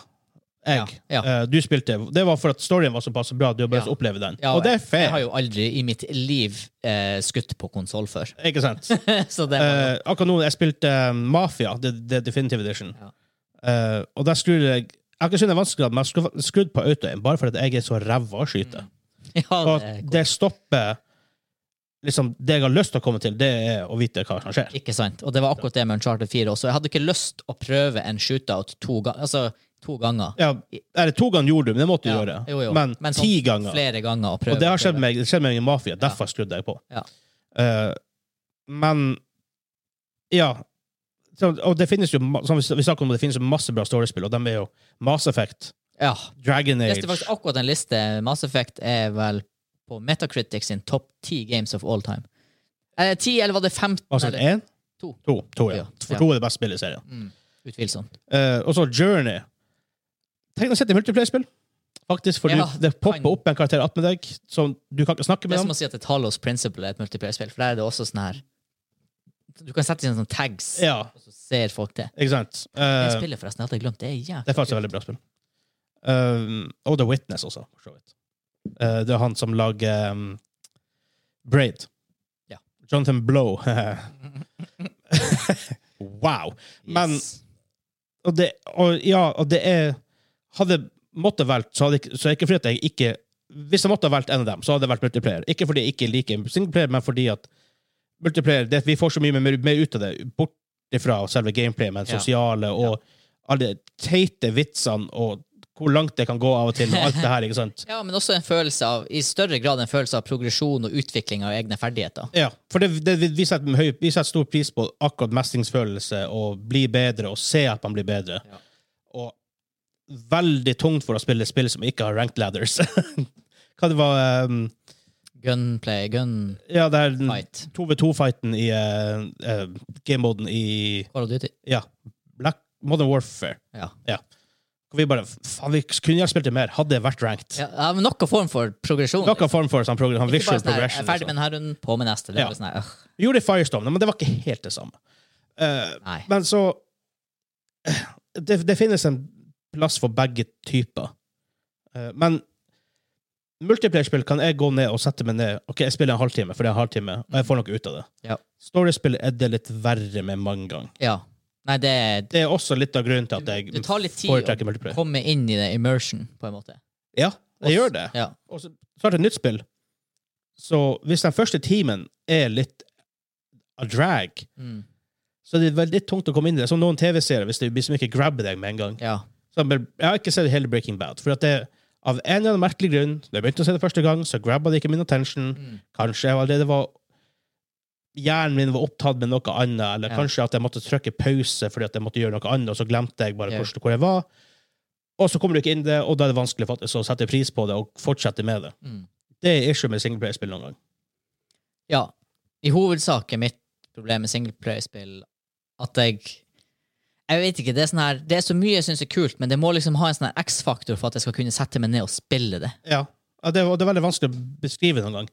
S2: Jeg.
S1: Ja,
S2: Eh, du spilte. Det var for at storyen var såpass bra at du bare
S1: Ja.
S2: oppleve den.
S1: Ja,
S2: og det er
S1: Jeg har
S2: fair.
S1: jo aldri i mitt liv eh, skutt på konsoll før. *laughs*
S2: Ikke sant?
S1: Så det var
S2: Eh, akkurat nå jeg spilte eh, Mafia, The, The Definitive Edition.
S1: Ja.
S2: Eh, og der skrur jeg Jeg har ikke syntes det er vanskelig, men jeg skru- skrudd på autoen bare fordi jeg er så ræva å skyte.
S1: Mm. ja,
S2: Eh, Og
S1: det,
S2: at
S1: er
S2: det stopper liksom, Det jeg har lyst til å komme til, det er å vite hva som skjer.
S1: Ikke sant? Og det var akkurat det med Uncharted 4 også. Jeg hadde ikke lyst å prøve en shootout to, ga altså, to ganger.
S2: Ja, eller To ganger gjorde du, men det måtte du
S1: Ja,
S2: gjøre.
S1: jo, jo.
S2: Men,
S1: Men sånn
S2: ti ganger.
S1: Flere ganger å prøve.
S2: og det har
S1: prøve.
S2: skjedd meg, det skjedde meg i Mafia. Derfor skrudde jeg på.
S1: Ja.
S2: Eh, men Ja. Så, og det finnes jo ma- som vi, vi snakket om, det finnes jo masse bra storiespill, og de er jo Mass Effect,
S1: Ja.
S2: Dragon
S1: Jeg
S2: Age
S1: leste faktisk akkurat en liste. Mass Effect er vel på Metacritic sin topp ti games of all time. Eh, 10, eller var det 15?
S2: Mass Effect
S1: Eller,
S2: 1?
S1: To.
S2: To, to, ja.
S1: Ja,
S2: For
S1: ja.
S2: to er det beste spillet i serien.
S1: mm, utvilsomt.
S2: Eh, og så Journey. Tenk deg å sitte i multiplayer-spill, faktisk, for
S1: Ja,
S2: du, det popper
S1: kan-
S2: opp en karakter attmed deg som du kan ikke snakke
S1: Det
S2: med
S1: er som
S2: dem.
S1: å si at et Talos Principle er et multiplayer-spill, for der er det også sånn her Du kan sette inn sånne tags,
S2: Ja,
S1: og så ser folk det.
S2: ikke sant?
S1: Det
S2: Eh,
S1: spillet, forresten, jeg hadde glemt. Det er jævlig
S2: Det er faktisk et veldig bra spill. Um, og The Witness også, for så vidt. Uh, det er han som lager um, Braid.
S1: Ja.
S2: Jonathan
S1: *laughs*
S2: Blow. *laughs* wow! Men
S1: Yes.
S2: og det, og, ja, og det er Hadde måtte valgt, så hadde ikke, så ikke fordi at jeg ikke Hvis jeg måtte ha valgt en av dem, så hadde jeg valgt multiplayer. Ikke fordi jeg ikke liker singleplayer, men fordi at multiplayer det, Vi får så mye mer, mer ut av det, bort ifra selve gameplayet, men
S1: Ja.
S2: sosiale og alle de teite vitsene og hvor langt det kan gå av og til, og alt det her, ikke sant?
S1: Ja, men også en følelse av, i større grad en følelse av progresjon og utvikling av egne ferdigheter.
S2: Ja, for det, det, vi, setter, høy, vi setter stor pris på akkurat mestringsfølelse og bli bedre og se at man blir bedre.
S1: Ja.
S2: Og veldig tungt for å spille spill som ikke har ranked ladders. *laughs* Hva det var um,
S1: Gunplay, gun
S2: Ja, det er den
S1: fight.
S2: 2v2-fighten i eh, eh, game-moden i
S1: Call of Duty.
S2: ja, Black Modern Warfare.
S1: Ja.
S2: Hvor vi bare Faen, vi kunne gjerne spilt det mer, hadde det vært ranked.
S1: Ja, ja, men noen form for progresjon.
S2: Noen form for sånn progr- sånn
S1: Ikke bare
S2: visual
S1: sånn her, jeg
S2: progression.
S1: er ferdig med denne runden, på med neste. Det
S2: Ja.
S1: er bare sånn her, øh,
S2: Vi gjorde det i Firestone, men det var ikke helt det samme. Eh,
S1: nei.
S2: men så det, det finnes en plass for begge typer. Eh, men multiplayerspill kan jeg gå ned og sette meg ned. Ok, jeg spiller en halvtime, for det er en halvtime, og jeg får noe ut av det.
S1: Ja.
S2: Storiespill er det litt verre med mange ganger.
S1: Ja. Nei, det er
S2: Det er også litt av grunnen til at jeg
S1: Det tar litt tid
S2: foretrekker multiplayer.
S1: komme inn i det immersion, på en måte.
S2: Ja, jeg gjør det.
S1: Ja.
S2: Og så starter et nytt spill. Så hvis den første timen er litt a drag,
S1: Mm.
S2: så er det veldig tungt å komme inn i det. Som noen TV-serier, hvis det blir som ikke grabber deg med en gang.
S1: ja.
S2: Så jeg bare- jeg har ikke sett hele Breaking Bad. For at det, av en eller annen merkelig grunn, da jeg begynte å se det første gang, så grabba det ikke min attention.
S1: Mm.
S2: Kanskje jeg allerede var Hjernen min var opptatt med noe annet, eller
S1: Ja.
S2: kanskje at jeg måtte trykke pause fordi at jeg måtte gjøre noe annet, og så glemte jeg bare
S1: Ja.
S2: hvordan- hvor jeg var. Og så kommer du ikke inn i det, og da er det vanskelig faktisk å sette pris på det og fortsette med det.
S1: Mm.
S2: Det er issue med singleplayer-spill noen gang.
S1: ja. I hovedsak er mitt problem med singleplayerspill at jeg jeg vet ikke, Det er sånn her, det er så mye jeg syns er kult, men det må liksom ha en sånn her X-faktor for at jeg skal kunne sette meg ned og spille det.
S2: Ja. Ja, det, og det er veldig vanskelig å beskrive noen gang.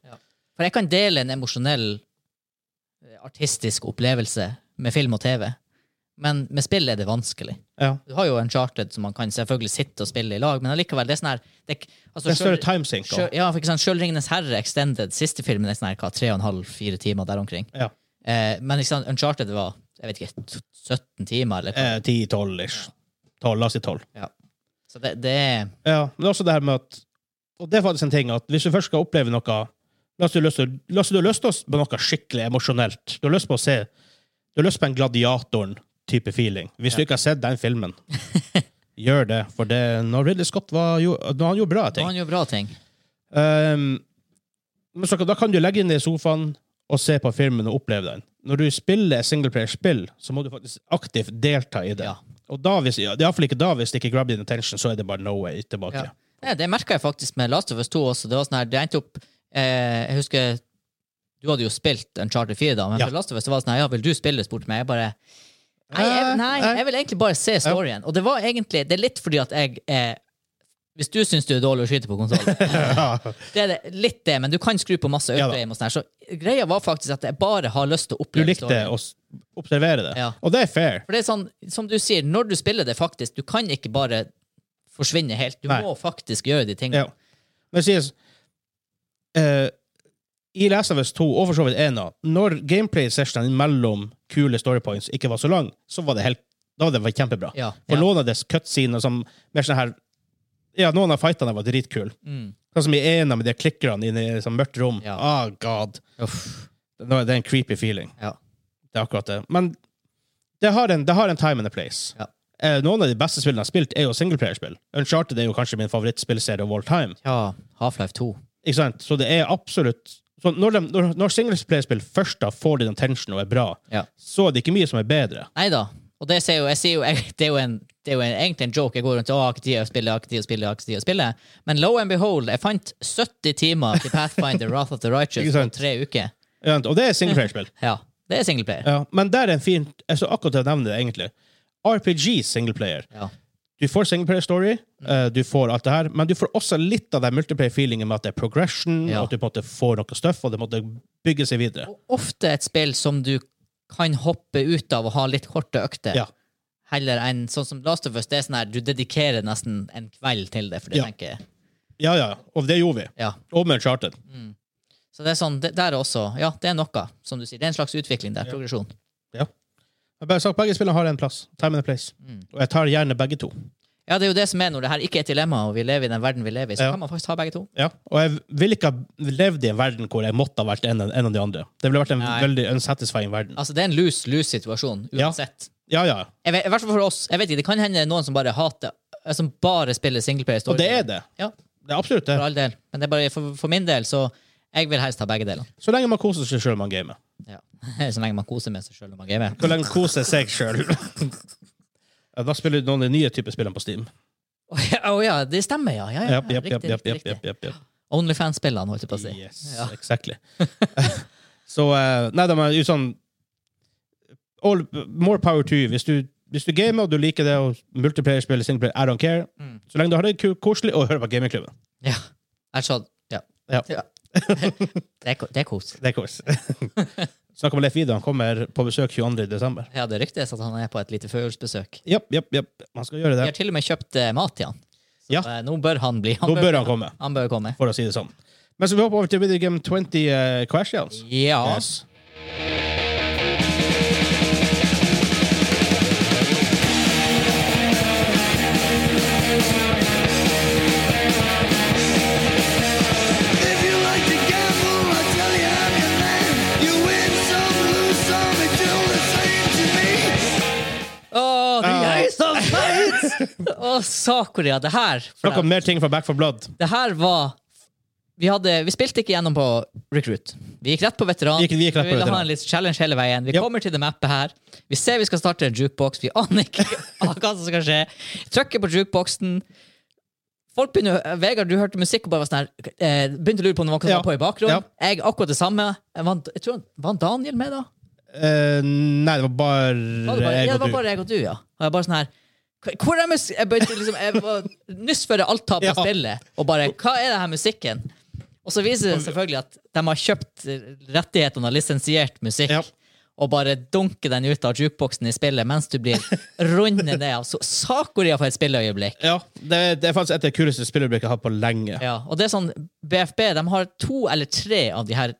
S1: For jeg kan dele en emosjonell, eh, artistisk opplevelse med film og TV, men med spill er det vanskelig.
S2: Ja.
S1: Du har jo Uncharted som man kan selvfølgelig sitte og spille i lag, men allikevel, det er sånn her det, er k- altså,
S2: Det er større
S1: selv-
S2: timesink.
S1: selv- Ja, for ikke sant, selv Ringenes herre, Extended, siste filmen er sånn her, hva, tre og en halv, fire timer der omkring.
S2: Ja.
S1: Eh, men ikke sant, Uncharted var, jeg vet ikke, t- 17 timer, eller hva.
S2: Eh, 10-12-ish. 12, la oss si 12.
S1: Så det, det er
S2: Ja, men også det her med at Og det er faktisk en ting at hvis du først skal oppleve noe La oss si du har lyst til- la oss si du har lyst til å s- på noe skikkelig emosjonelt. Du har lyst på å se Du har lyst på en Gladiatoren-type feeling. Hvis du ikke har sett den
S1: *laughs*
S2: filmen, gjør det. For det når Ridley Scott var jo, når han gjorde bra
S1: Da
S2: ting.
S1: han gjør bra ting.
S2: Um, men så, da kan du legge deg i sofaen og se på filmen og oppleve den. Når du spiller et singleplayer-spill, så må du faktisk aktivt delta i det.
S1: Ja.
S2: Og da hvis, ja, i hvert fall ikke da, hvis det ikke grabber din attention, så er det bare no way tilbake.
S1: Ja. Ja, det merka jeg faktisk med Last of Us 2 også. Det var sånn her, det endte opp eh, Jeg husker du hadde jo spilt Uncharted 4 da, men
S2: Ja.
S1: for Last of Us det var det sånn her, ja, vil du spille, spurte meg. Jeg bare Nei, jeg, nei,
S2: Nei.
S1: jeg vil egentlig bare se storyen. Og det var egentlig Det er litt fordi at jeg eh, Hvis du syns du er dårlig å skyte på konsoll,
S2: *laughs*
S1: det er det, litt det, men du kan skru på masse
S2: Ja da.
S1: auto-aim og sånn her, så greia var faktisk at jeg bare har lyst til å
S2: Du
S1: oppleve
S2: likte å s- observere det.
S1: Ja.
S2: Og det er fair.
S1: For det er sånn, som du sier, når du spiller det faktisk, du kan ikke bare forsvinne helt. Du
S2: Nei.
S1: må faktisk gjøre de tingene.
S2: Ja. Men det sies eh, I Last of Us 2, og for så vidt 1, når gameplay-sessionen mellom kule storypoints ikke var så lang, så var det helt, da var det var kjempebra.
S1: Ja,
S2: For
S1: ja.
S2: noen av dess cutscener som mer sånn her Ja, noen av fightene var dritkule.
S1: Mm.
S2: Sånn som i en av de klikkerne inne i et sånt mørkt rom.
S1: Ja.
S2: Ah, god.
S1: Uff.
S2: Det det er en creepy feeling.
S1: Ja.
S2: Det er akkurat det. Men det har en, det har en time and a place.
S1: Ja.
S2: Eh, noen av de beste spillene jeg har spilt, er jo singleplayerspill. Uncharted er jo kanskje min favorittspillserie of all time.
S1: ja. Half-Life 2.
S2: Ikke sant? Så det er absolutt så Når, de, når, når singlesplayerspill først da får din attention og er bra,
S1: Ja.
S2: så er det ikke mye som er bedre.
S1: Nei da. Og det, ser jo, jeg sier jo, jeg, det er jo, en, det er jo en, egentlig en joke. Jeg går rundt og har ikke tid å spille, har ikke tid å spille, har ikke tid å spille. Men low and behold, jeg fant 70 timer til
S2: *laughs*
S1: Pathfinder Wrath of the Righteous på
S2: Ikke sant?
S1: tre uker.
S2: Ikke sant? Og det er
S1: *laughs*
S2: singleplayerspill.
S1: Ja, det er singleplayer.
S2: Ja, men der er en fin Jeg så akkurat til å nevne det, egentlig. RPG singleplayer.
S1: Ja.
S2: Du får singleplayer-story, eh, du får alt det her, men du får også litt av den multiplayer-feelingen med at det er progression,
S1: Ja.
S2: og at du på en måte får noe stuff, og det måtte bygge seg videre.
S1: Og ofte et spill som du kan hoppe ut av og ha litt korte økter.
S2: Ja.
S1: Heller enn sånn som Last of Us. Det er sånn her, du dedikerer nesten en kveld til det. For det
S2: Ja.
S1: tenker jeg.
S2: ja, ja, og det gjorde vi.
S1: Ja.
S2: Og med Uncharted.
S1: Så det er sånn, det, der også, ja, det er noe, som du sier. Det er en slags utvikling der. Progresjon.
S2: Ja. Jeg har bare sagt, begge spillene har en plass. Time and a place.
S1: Mm.
S2: Og jeg tar gjerne begge to.
S1: Ja, det er jo det som er når det her ikke er et dilemma, og vi lever i den verden vi lever i, så
S2: Ja.
S1: kan man faktisk ha begge to.
S2: Ja. Og jeg ville ikke ha levd i en verden hvor jeg måtte ha vært en, en av de andre. Det ville vært en
S1: Nei.
S2: veldig unsatisfying verden.
S1: Altså, det er en lose-lose-situasjon,
S2: Ja.
S1: uansett.
S2: Ja, ja.
S1: Jeg vet, I hvert fall for oss. Jeg vet ikke, Det kan hende det er noen som bare hater eh, Som bare spiller singleplayer
S2: Og det er det.
S1: Ja,
S2: Det er absolutt det.
S1: for all del. Men det er bare, for, for min del, så Jeg vil helst ha begge deler.
S2: Så lenge man koser seg sjøl man gamer.
S1: Ja. *laughs* Så lenge man koser med seg sjøl når man gamer.
S2: Så lenge koser seg sjøl.
S1: *laughs*
S2: da spiller du noen av de nye typer spillene på Steam.
S1: Å ja, å ja, det stemmer, ja. ja, ja.
S2: Japp, japp, japp,
S1: Riktig, riktig,
S2: japp, japp,
S1: riktig.
S2: japp, japp, japp.
S1: Onlyfans-spillene, holdt jeg på å si.
S2: Yes,
S1: Ja. *laughs*
S2: exactly. Så eh, Nei, de er jo sånn all, More power to you. Hvis du, hvis du gamer og du liker det, og multiplayer spiller singleplayer, I don't care.
S1: Mm.
S2: Så lenge du har det ku- koselig, og hører på gamingklubben.
S1: Ja. Jeg sa Ja.
S2: Ja.
S1: Det er, ko- det er kos.
S2: Det er
S1: *laughs*
S2: kos. Snakk om Leif Vidar. Han kommer på besøk 22. desember.
S1: Ja, det ryktes at han er på et lite førjulsbesøk.
S2: Japp, japp, japp. Han skal gjøre
S1: Vi
S2: det.
S1: har til og med kjøpt eh, mat til han. Så
S2: Ja.
S1: eh, nå bør han bli.
S2: Nå bør han komme,
S1: han bør komme.
S2: for å si det sånn. Men så vi hopper over til Video Game 20 eh, Questions.
S1: Ja.
S2: Yes.
S4: If you like to gamble, I tell you I'm your man. You win some, lose some, it's all the same to me.
S1: Å, det er jeg som veit! Å, Sakuria, det her
S2: Snakk om mer ting fra Back for Blood.
S1: Det her var vi, hadde, vi spilte ikke gjennom på recruit. Vi gikk rett på veteran.
S2: Vi gikk- vi gikk rett på
S1: ville
S2: veteran.
S1: ha en litt challenge hele veien. Vi
S2: Ja.
S1: kommer til det mappet her. Vi ser vi skal starte en jukebox. Vi aner ikke *laughs* hva som skal skje. Trykker på jukeboxen. Folk begynner, Vegard, du hørte musikk og bare var sånn her, eh, begynte å lure på om det var noe som
S2: Ja.
S1: var på i bakgrunnen.
S2: Ja.
S1: Jeg akkurat det samme. Jeg var, jeg tror, var han Daniel med, da?
S2: Eh, nei, det var bare,
S1: Var det bare,
S2: jeg
S1: ja, det
S2: og
S1: var
S2: du.
S1: bare jeg og du, ja. Og jeg bare sånn her "Hva- Hvor er musikk? Jeg begynte liksom jeg var Nyss før jeg alt tar på
S2: Ja.
S1: spillet, og bare Hva er det her musikken? Og så viser det selvfølgelig at de har kjøpt eh, rettighetene og lisensiert musikk.
S2: Ja.
S1: Og bare dunker den ut av jukeboksen i spillet mens du blir rundet ned av så Sakoria for et spilløyeblikk.
S2: Ja, det, det er faktisk et av de kuleste spilløyeblikket jeg har hatt på lenge.
S1: Ja, og det er sånn, BFB de har to eller tre av de her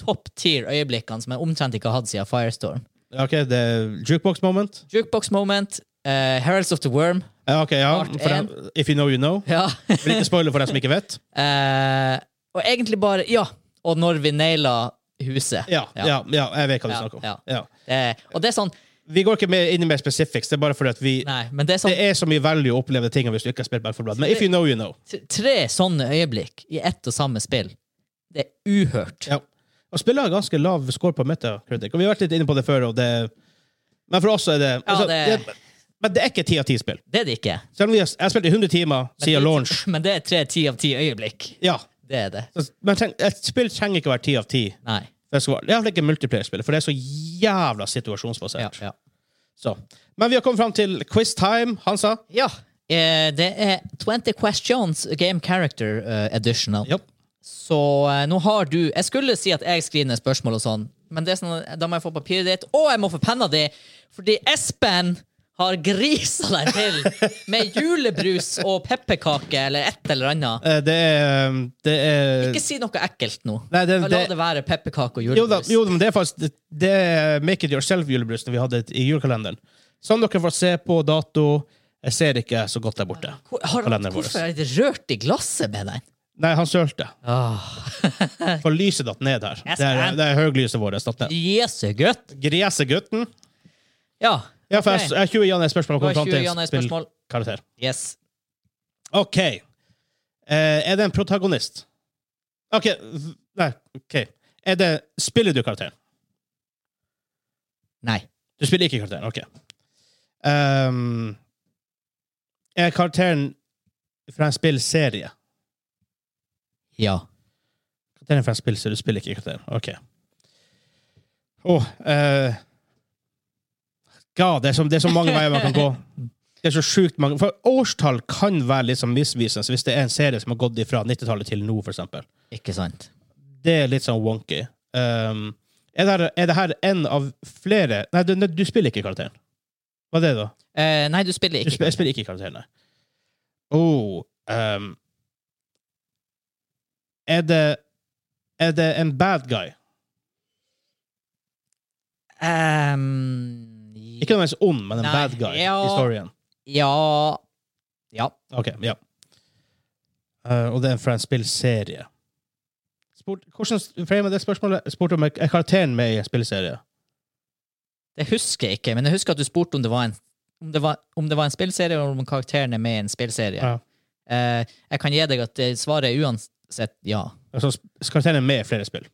S1: top tier øyeblikkene som jeg omtrent ikke har hatt siden Firestorm.
S2: Ja, ok, det er Jukebox Moment.
S1: Jukebox moment, eh, Heralds of the Worm.
S2: Ja, ok, ja.
S1: Part
S2: For
S1: en.
S2: den, if you know, you know.
S1: Ja.
S2: Vil ikke spoile for dem som ikke vet.
S1: Eh, og egentlig bare Ja! Og når vi naila huset.
S2: Ja, ja, ja, jeg vet hva du
S1: Ja,
S2: snakker om.
S1: ja.
S2: Ja.
S1: Eh, og det er sånn
S2: Vi går ikke mer inn i mer specifics, det er bare fordi at vi
S1: Nei, men det er
S2: Det
S1: sånn
S2: er så mye value å oppleve ting hvis du ikke har spilt Back for Blood. Men if you know, you know.
S1: t- tre sånne øyeblikk i ett og samme spill. Det er uhørt.
S2: Ja. Og spillet har ganske lav score på Metacritic, og vi har vært litt inne på det før, og det Men for oss er det, altså,
S1: det-
S2: det Men det er ikke ti av ti spill.
S1: Det er det ikke.
S2: Selv om vi har, jeg har spilt i 100 timer
S1: det er-
S2: siden
S1: *laughs*
S2: launch.
S1: men det er tre ti av ti øyeblikk.
S2: Ja.
S1: Det er det.
S2: Så- Men tenk, et spill trenger ikke å være ti av ti.
S1: Nei.
S2: Det skal være- i hvert fall ikke multiplayer-spill, for det er så jævla situasjonsbasert.
S1: Ja. ja.
S2: Så. Men vi har kommet fram til quiz time, Hansa.
S1: ja. Eh, det er 20 Questions Game Character eh, Editional.
S2: Ja.
S1: Så eh, nå har du Jeg skulle si at jeg skriver ned spørsmål og sånn, men det er sånn, da må jeg få papiret ditt, og jeg må få penna di, fordi Espen har grisa deg til med julebrus og pepperkake eller et eller annet.
S2: Eh, Det er, det er
S1: Ikke si noe ekkelt nå.
S2: Nei, det-
S1: La
S2: det-
S1: det være pepperkake og
S2: jo, da,
S1: julebrus.
S2: jo, men det er faktisk det- Det er Make It Yourself-julebrus vi hadde i julekalenderen. Som dere får se på dato. Jeg ser ikke så godt der borte.
S1: Hvor- Harald,
S2: kalenderen vår.
S1: hvorfor er det rørt i glasset med den?
S2: Nei, han sølte.
S1: Ah,
S2: *laughs* For lyset datt ned her.
S1: Yes,
S2: Det er,
S1: man.
S2: det er høylyset vårt. datt ned.
S1: Jesu gutt!
S2: Grese gutten.
S1: Ja.
S2: Ja, for
S1: ok.
S2: jeg, jeg har 20 ja-nei-spørsmål.
S1: Du har 20 ja- nei-spørsmål.
S2: Karakter.
S1: Yes.
S2: OK. Eh, er det en protagonist? OK. v- Nei, OK. Er det Spiller du karakteren?
S1: Nei.
S2: Du spiller ikke karakteren, ok. Ehm, er karakteren fra en spillserie?
S1: Ja.
S2: Karakteren er fra en spillserie, du spiller ikke karakteren. Ok. Åh, eh, God, det er, så, det er så mange veier man kan gå. Det er så sjukt mange. For årstall kan være litt sånn misvisende, så hvis det er en serie som har gått fra 90-tallet til nå, for eksempel.
S1: Ikke sant?
S2: Det er litt sånn wonky. Ehm, er, det her, er det her en av flere Nei, du, du spiller ikke karakteren. Hva er det, da?
S1: Eh, nei, du spiller
S2: Du
S1: ikke.
S2: spiller, jeg spiller ikke karakteren, nei. Oh, ehm. er, det, er det en bad guy?
S1: Ehm,
S2: Ikke nødvendigvis ond, men en
S1: Nei,
S2: bad guy
S1: ja.
S2: i storyen.
S1: Ja. Ja.
S2: Ok, ja. Eh, og det er fra en spillserie. Spurt, hvordan framet det spørsmålet? Spurte om er er karakteren med i en spillserie?
S1: Det husker jeg ikke, men jeg husker at du spurte om det var en, om det var, om det var en spillserie, eller om karakteren er med i en spillserie.
S2: Ja.
S1: Eh, jeg kan gi deg at eh, svaret er uansett ja.
S2: Altså, s- karakteren er med i flere spill.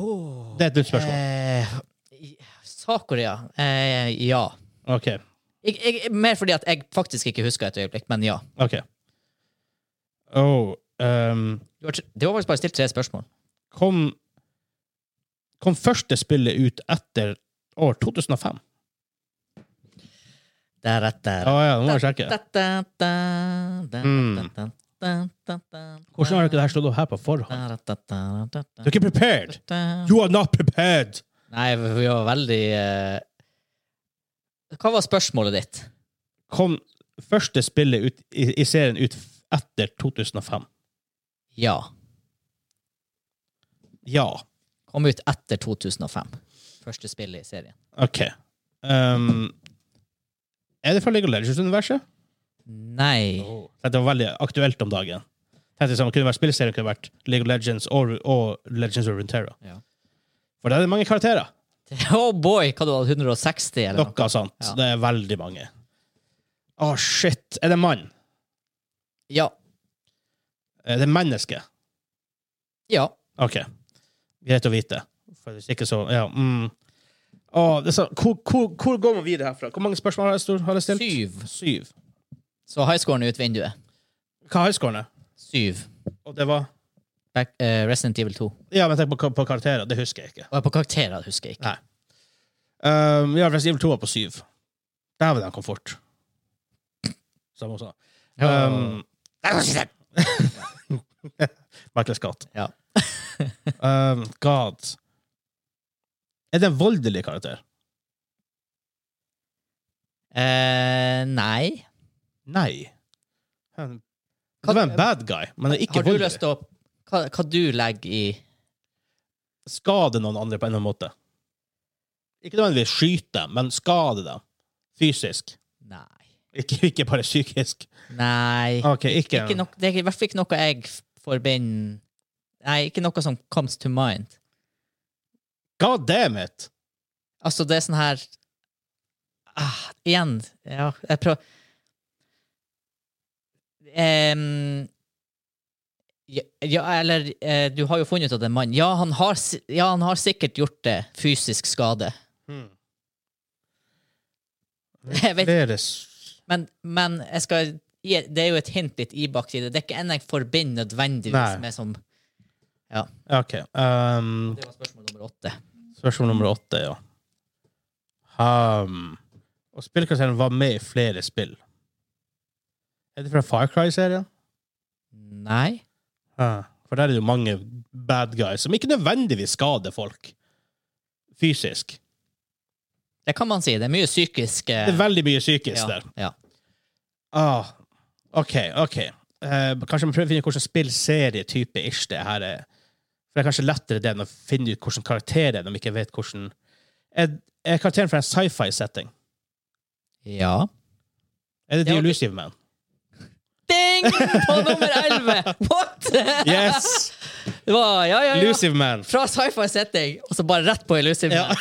S2: Det er et nytt spørsmål.
S1: Eh, i- Sakuria. Eh, ja.
S2: Ok,
S1: Jeg, jeg, mer fordi at jeg faktisk ikke husker et øyeblikk, men ja.
S2: ok. Oh, ehm,
S1: Du har, tr- du har faktisk bare stilt tre spørsmål.
S2: kom, kom første spillet ut etter år 2005.
S1: Der, der, der.
S2: Ja, ja, nå må jeg sjekke. Mm. Hvordan har dere det her slått opp her på forhånd? Du er ikke prepared! You are not prepared!
S1: Nei, vi var veldig eh, Hva var spørsmålet ditt?
S2: Kom første spillet ut, i, i serien ut f- etter 2005?
S1: Ja.
S2: Ja.
S1: Kom ut etter 2005. Første spillet i serien.
S2: OK. Um, er det fra League of Legends-universet?
S1: Nei.
S2: Dette var veldig aktuelt om dagen. Tenkte sånn, kunne vært spillserien, kunne vært League of Legends og, og Legends of Runeterra.
S1: Ja.
S2: For der er det mange karakterer.
S1: Oh boy! Hva du hadde 160, eller noe?
S2: Noe sånt.
S1: Ja.
S2: Det er veldig mange. Å, shit. Er det mann?
S1: Ja.
S2: Er det menneske?
S1: Ja.
S2: OK. Greit å vite. For hvis ikke så Ja. Mm. Å, det er så, hvor, hvor, hvor går man videre herfra? Hvor mange spørsmål har jeg, stor- har jeg stilt?
S1: Syv.
S2: Syv.
S1: Så highscoren er ut vinduet.
S2: Hva har scorene?
S1: Syv.
S2: Og det var
S1: Back, eh, Resident Evil 2.
S2: Ja, men tenk på, på karakterer. Det husker jeg ikke.
S1: Og på karakterer husker jeg ikke.
S2: Nei. Um, ja, Resident Evil 2 var på syv. Dæven, den kom fort. Samme også. Um, Michael Scott.
S1: Ja.
S2: *laughs* um, God. Er det en voldelig karakter?
S1: Eh, nei.
S2: Nei. Han-
S1: Kan-
S2: Det var en bad guy, men det er ikke
S1: Har du
S2: voldelig.
S1: lyst til å hva, hva du legger i
S2: Skade noen andre på en eller annen måte. Ikke nødvendigvis skyte dem, men skade dem. Fysisk.
S1: Nei.
S2: Ikke, ikke bare psykisk.
S1: Nei.
S2: Ok, ikke,
S1: Ikke nok, det er i hvert fall ikke noe jeg f- forbinder Nei, ikke noe som comes to mind.
S2: God damn it!
S1: Altså, det er sånn her ah, Igjen. Ja, jeg prøver Em, ja, ja, eller eh, Du har jo funnet ut at det er en mann. Ja, han har, si- ja, han har sikkert gjort det. Fysisk skade. Jeg vet
S2: Flere s-
S1: Men, men jeg skal gi, det er jo et hint litt ibakt i det. Det er ikke en jeg forbinder nødvendigvis
S2: Nei.
S1: med som Ja.
S2: OK. Um,
S1: Det var spørsmål nummer åtte.
S2: spørsmål nummer åtte, ja. Um, og spillkarakteren var med i flere spill. Er det fra Far Cry-serien?
S1: Nei.
S2: Ja, For der er det jo mange bad guys som ikke nødvendigvis skader folk fysisk.
S1: Det kan man si. Det er mye psykisk eh,
S2: Det er veldig mye psykisk
S1: ja,
S2: der.
S1: ja.
S2: Ah, OK, OK. Eh, kanskje vi prøver å finne ut hvilken spillserietype ish det her er. For det er kanskje lettere det enn å finne ut hvilken karakter det er, når vi ikke vet hvordan Er, er karakteren fra en sci-fi-setting?
S1: ja.
S2: Er det The
S1: Ja, ok.
S2: Elusive
S1: *laughs*
S2: Man?
S1: Ding! På nummer 11!
S2: *laughs*
S1: What?!
S2: Yes!
S1: Det var, ja, ja, ja.
S2: Elusive Man.
S1: Fra sci-fi setting, og så bare rett på Elusive.
S2: Ja. *laughs*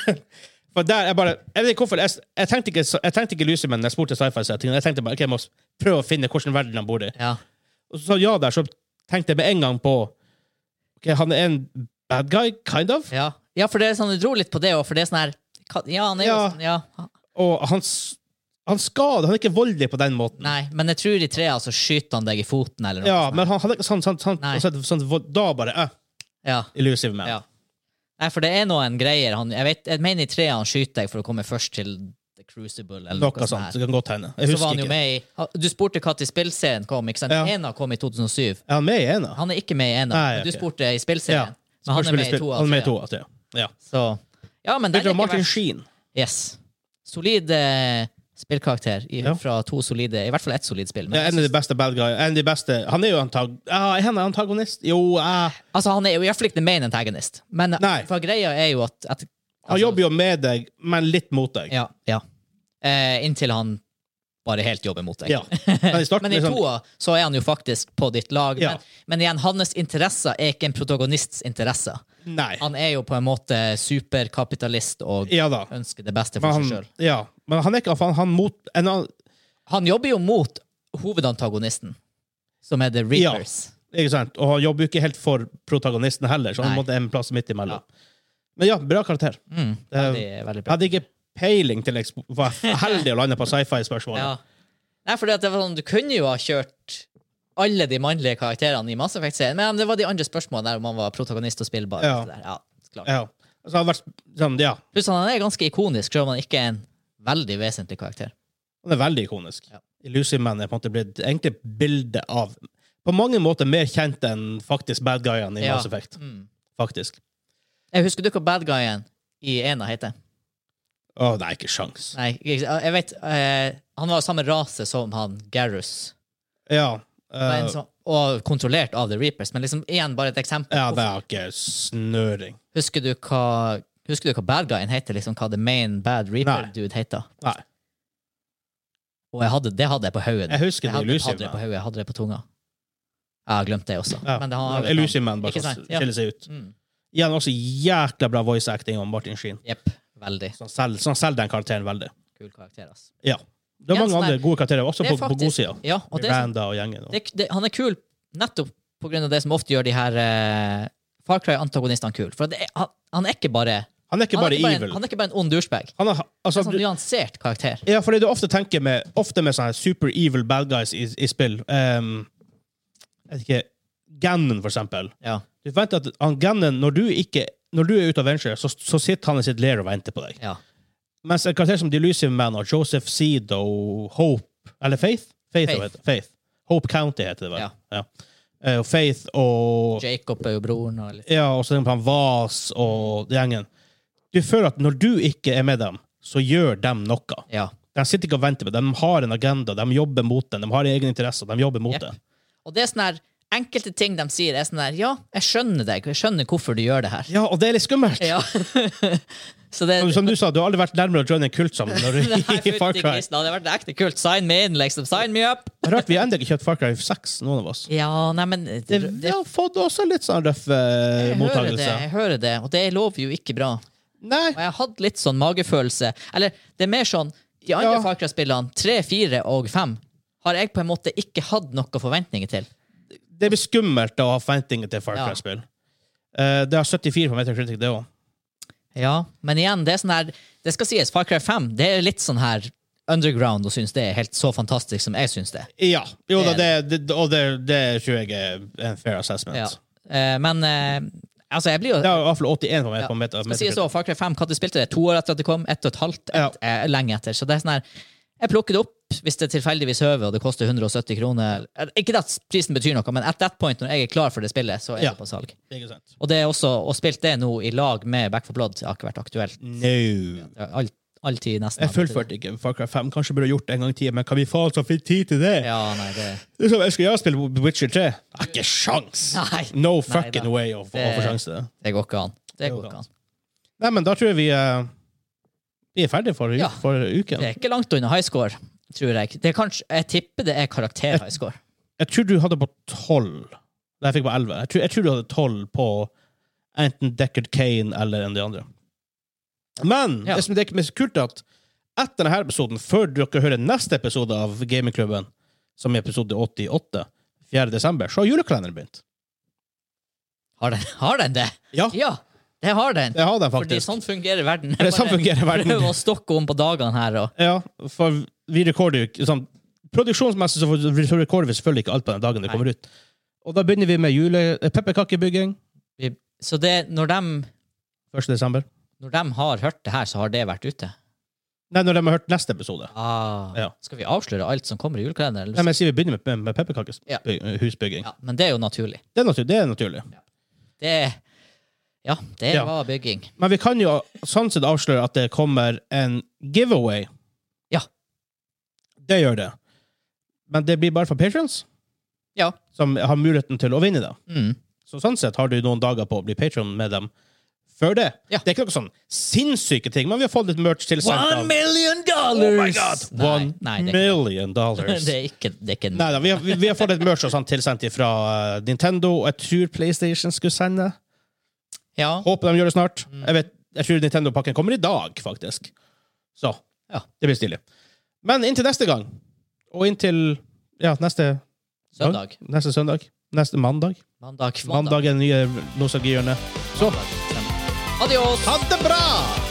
S2: For der er bare Jeg vet ikke hvorfor. Jeg, jeg tenkte ikke, så- jeg tenkte ikke Lucy, men jeg spurte sci-fi-settingen. Jeg tenkte bare, ok, jeg må s- prøve å finne hvordan verden han bor i.
S1: Ja.
S2: Og så sa ja der, så tenkte jeg med en gang på ok, han er en bad guy, kind of.
S1: Ja. ja, for det er sånn, du dro litt på det òg, for det er sånn her ka- Ja, han er jo
S2: Ja.
S1: sånn, ja.
S2: Og han, s- han skader Han er ikke voldelig på den måten.
S1: Nei, men jeg tror i trea så skyter han deg i foten eller noe.
S2: Ja,
S1: sånt.
S2: men han hadde ikke sånn, sånn, sånn,
S1: Nei.
S2: sånn, sånn, vold- Da bare eh,
S1: ja.
S2: Elusive Man.
S1: Ja. Nei, for det er noen greier han Jeg, vet, jeg mener i trea han skyter deg for å komme først til The Crucible eller
S2: Noe
S1: noe,
S2: sånt.
S1: sånt.
S2: Det
S1: her.
S2: kan godt hende. Jeg
S1: Så var
S2: husker
S1: han jo
S2: ikke.
S1: med i ha- Du spurte når spillserien kom, ikke sant?
S2: Ja.
S1: Ena kom i 2007.
S2: Er han med i en av?
S1: Han er ikke med i ena,
S2: Nei,
S1: men du
S2: ok.
S1: spurte i
S2: Ja.
S1: spillserien. Men han er med i to
S2: Han
S1: av
S2: er med i
S1: tre.
S2: to av tre. Ja.
S1: Så Ja, men den er
S2: Spilte av
S1: ikke
S2: Martin
S1: verst.
S2: Sheen.
S1: Yes. Solid eh, spillkarakter i,
S2: Ja.
S1: fra to solide I hvert fall ett solid spill. Men
S2: Ja,
S1: jeg
S2: en av de
S1: synes-
S2: beste bad guy. En av de beste Han er jo antag... Ah, er han antagonist? Jo, eh,
S1: altså, han er jo i hvert fall ikke the main antagonist, men
S2: Nei.
S1: for greia er jo at, at
S2: han jobber jo med deg, men litt mot deg.
S1: Altså- Ja. ja. Eh, inntil han bare helt jobber mot deg.
S2: Ja. Men i
S1: *laughs*
S2: starten
S1: Men i
S2: liksom,
S1: toa så er han jo faktisk på ditt lag.
S2: Ja.
S1: Men, men igjen, hans interesser er ikke en protagonists interesser.
S2: Nei.
S1: Han er jo på en måte superkapitalist og
S2: Ja da.
S1: ønsker det beste
S2: Men
S1: for
S2: han,
S1: seg sjøl.
S2: ja. men han er ikke han, han mot en annen,
S1: Han jobber jo mot hovedantagonisten, som er The
S2: Ja.
S1: Reapers.
S2: ikke sant? Og han jobber jo ikke helt for protagonisten heller, så han
S1: Nei.
S2: måtte en plass midt imellom. Men ja, bra karakter.
S1: Mm,
S2: Eh,
S1: veldig, veldig bra.
S2: Hadde ikke peiling til ekspo...
S1: *laughs*
S2: Var heldig å lande på sci-fi-spørsmålet.
S1: Ja. Nei, fordi at det var sånn, du kunne jo ha kjørt alle de mannlige karakterene i Mass Effect-serien, men det var de andre spørsmålene der om han var protagonist og spillbar.
S2: Ja.
S1: og det der. Ja, klart.
S2: Ja. Altså, han har vært sånn, ja.
S1: Pluss han er ganske ikonisk, selv om han ikke er en veldig vesentlig karakter.
S2: Han er veldig ikonisk.
S1: Ja.
S2: Elusive Man er på en måte blitt egentlig bildet av På mange måter mer kjent enn faktisk bad guyene i
S1: Ja.
S2: Mass Effect.
S1: Mm.
S2: Faktisk.
S1: Jeg husker du hva bad guyen i ena heter?
S2: Å, det er ikke sjans.
S1: Nei, jeg jeg vet eh, Han var av samme rase som han Garrus.
S2: Ja.
S1: Det var
S2: eh,
S1: en sånn som- Og kontrollert av The Reapers, men liksom igjen bare et eksempel.
S2: ja, det er ikke snøring.
S1: Husker du hva Husker du hva bad guyen heter? Liksom hva the main bad reaper
S2: Nei.
S1: dude heter?
S2: Nei.
S1: Og jeg hadde, det hadde jeg på hodet.
S2: Jeg husker det
S1: hadde,
S2: Elusive
S1: hadde det på
S2: Man.
S1: hodet, jeg hadde det på tunga. Jeg har glemt det også.
S2: Ja.
S1: Men det har
S2: Elusive Man bare
S1: Ikke
S2: sånn
S1: sant? Ja.
S2: skiller seg ut.
S1: Mm.
S2: Igjen også jækla bra voice acting av Martin Sheen.
S1: Jepp. Veldig
S2: Så han selger sånn selger den karakteren veldig.
S1: kul karakter, ass.
S2: Ja. Det er
S1: Ja,
S2: mange
S1: sånn
S2: andre
S1: der-
S2: gode karakterer, også
S1: Det er
S2: på, på
S1: faktisk-
S2: godsida.
S1: Ja, og det er sånn-
S2: Miranda og gjengen. Og.
S1: det, det, han er kul nettopp på grunn av det som ofte gjør de her eh, Far Cry-antagonistene kul. For det er, han, han er ikke bare
S2: Han er ikke
S1: han er
S2: bare
S1: ikke bare, en,
S2: evil.
S1: han er ikke bare en ond douchebag.
S2: Han er, altså,
S1: En sånn
S2: du,
S1: nyansert karakter.
S2: Ja, fordi du ofte tenker med Ofte med sånne super evil bad guys i, i spill ehm, Jeg vet ikke Ganon, for eksempel.
S1: Ja.
S2: Du forventer at han Ganon, når du, ikke, når du er ute av Venture, så, så sitter han i sitt leir og venter på deg.
S1: ja.
S2: Mens en karakter som Delusive Man og Joseph Seed og Hope Eller Faith? Faith,
S1: Faith.
S2: Heter, Faith. Hope County heter det vel.
S1: Ja.
S2: Ja. Eh, Og Faith og
S1: Jacob er jo broren og litt
S2: Ja, og så er det han Vas og gjengen. Du føler at når du ikke er med dem, så gjør dem noe.
S1: Ja.
S2: De sitter ikke og venter på det. De har en agenda, de jobber mot den, de har egne interesser, de jobber mot
S1: Jepp.
S2: det.
S1: Og det er sånn her Enkelte ting de sier, er sånn her Ja, jeg skjønner deg, og jeg skjønner hvorfor du gjør det her.
S2: Ja, og det er litt skummelt!
S1: Ja. *laughs* Så det
S2: Som, som du sa, du har aldri vært nærmere å joine en kult sammen når du
S1: *laughs* Nei,
S2: i Far
S1: fytti
S2: Cry.
S1: grisen, det hadde vært ekte kult. Sign me in, liksom. Sign me up!
S2: Rart vi ennå ikke kjøpt Far Cry 6, noen av oss.
S1: Ja, nei, men det,
S2: Det,
S1: det,
S2: vi har fått også litt sånn røff eh,
S1: jeg hører det,
S2: mottakelse.
S1: jeg hører det, og det lover jo ikke bra.
S2: Nei,
S1: Og jeg hadde litt sånn magefølelse. Eller det er mer sånn De andre
S2: Ja.
S1: Far Cry-spillene, tre, fire og fem, har jeg på en måte ikke hatt noen forventninger til.
S2: det blir skummelt å ha forventninger til Far
S1: Ja.
S2: Cry-spill. Eh, det har 74 på Metacritic, det òg.
S1: Ja, Men igjen, det er sånn her Det skal sies, Far Cry 5 det er litt sånn her underground og syns det er helt så fantastisk som jeg syns det.
S2: Ja. Jo da,
S1: Det
S2: det, det, og det, det tror jeg er en fair assessment.
S1: Ja. Eh, men eh, altså, jeg blir jo
S2: Det er i hvert fall 81 på, met
S1: Ja.
S2: på Meta-
S1: skal sies
S2: Metacritic.
S1: også, Far Cry 5, Når du spilte det? To år etter at det kom? Ett og et halvt? Et, eh, lenge etter. Så det er sånn her Jeg plukker det opp hvis det tilfeldigvis høver, og det koster 170 kroner. Eller, Ikke at prisen betyr noe, men at that point, når jeg er klar for det spillet, så er
S2: Ja.
S1: det på salg.
S2: Ikke sant?
S1: Og det er også, å spille det nå i lag med Back for Blood har ikke vært aktuelt.
S2: No.
S1: Alt, All tid nesten.
S2: Mm. Jeg fullførte ikke Far Cry 5. Kanskje burde jeg gjort det en gang i tida, men kan vi faen så finne tid til det?
S1: Ja, nei, det
S2: Det er som, jeg skal jeg spille Witcher 3? Jeg har ikke sjans!
S1: Nei.
S2: No
S1: Nei,
S2: fucking
S1: da.
S2: way å å få
S1: Det-
S2: sjanse til det.
S1: Det går ikke an. Det
S2: går
S1: går ikke
S2: an.
S1: an.
S2: Nei, men da tror jeg vi, eh, vi er ferdige for,
S1: Ja.
S2: for uken.
S1: Det er ikke langt unna high score, tror jeg. Det er kanskje, jeg tipper det er karakter high score.
S2: Jeg tror du hadde på tolv. Nei, jeg fikk på elleve. Jeg, tror- jeg tror du hadde tolv på enten Deckard Kane eller en av de andre. Men
S1: Ja.
S2: det som det er mest kult, er at etter denne episoden, før dere hører neste episode av Gamingklubben, som er episode 88, 4. desember, så har julekalenderen begynt.
S1: Har den, har den det?
S2: Ja,
S1: Ja, det har den.
S2: det har den
S1: Fordi
S2: faktisk.
S1: sånn fungerer verden.
S2: Det er sånn
S1: Bare
S2: fungerer verden.
S1: Prøv å stokke om på dagene her. Og.
S2: Ja, for vi rekorder jo ikke sånn, Produksjonsmessig så så rekorder vi selvfølgelig ikke alt på den dagen det
S1: Nei.
S2: kommer ut. Og da begynner vi med jule, eh, pepperkakebygging
S1: Vi, så det, når, de,
S2: 1. desember.
S1: når de har hørt det her, så har det vært ute.
S2: Nei, når de har hørt neste episode.
S1: Ah,
S2: Ja.
S1: Skal vi avsløre alt som kommer i julekalenderen?
S2: Nei, men jeg sier vi begynner med, med
S1: Ja.
S2: pepperkakehusbygging.
S1: Ja, men det er jo naturlig.
S2: Det, er naturlig, det er naturlig.
S1: Det Ja, det
S2: Ja.
S1: var bygging.
S2: Men vi kan jo sånn sett avsløre at det kommer en giveaway.
S1: Ja.
S2: Det gjør det. Men det blir bare for patrons
S1: Ja.
S2: som har muligheten til å vinne det.
S1: Mm.
S2: Så sånn sett har du noen dager på å bli patron med dem før det.
S1: Ja.
S2: Det er ikke noe sånn sinnssyke ting, men vi har fått litt merch tilsendt
S1: One
S2: av
S1: million dollars!
S2: Oh my god! One
S1: nei, nei, det er
S2: million
S1: ikke, *laughs*
S2: dollars.
S1: det er ikke, det er ikke
S2: Neida, vi, har- vi, vi har fått et merch og sånt tilsendt fra eh, Nintendo, og jeg tror PlayStation skulle sende.
S1: Ja.
S2: Håper de gjør det snart. Jeg, vet, jeg tror Nintendo-pakken kommer i dag, faktisk. Så
S1: Ja.
S2: det blir stilig. Men inntil neste gang, og inntil ja, neste
S1: Søndag.
S2: Neste søndag. Neste mandag.
S1: Mandag.
S2: Mandag er det nye nostalgihjørnet. Så
S1: Adios!
S2: ha det bra!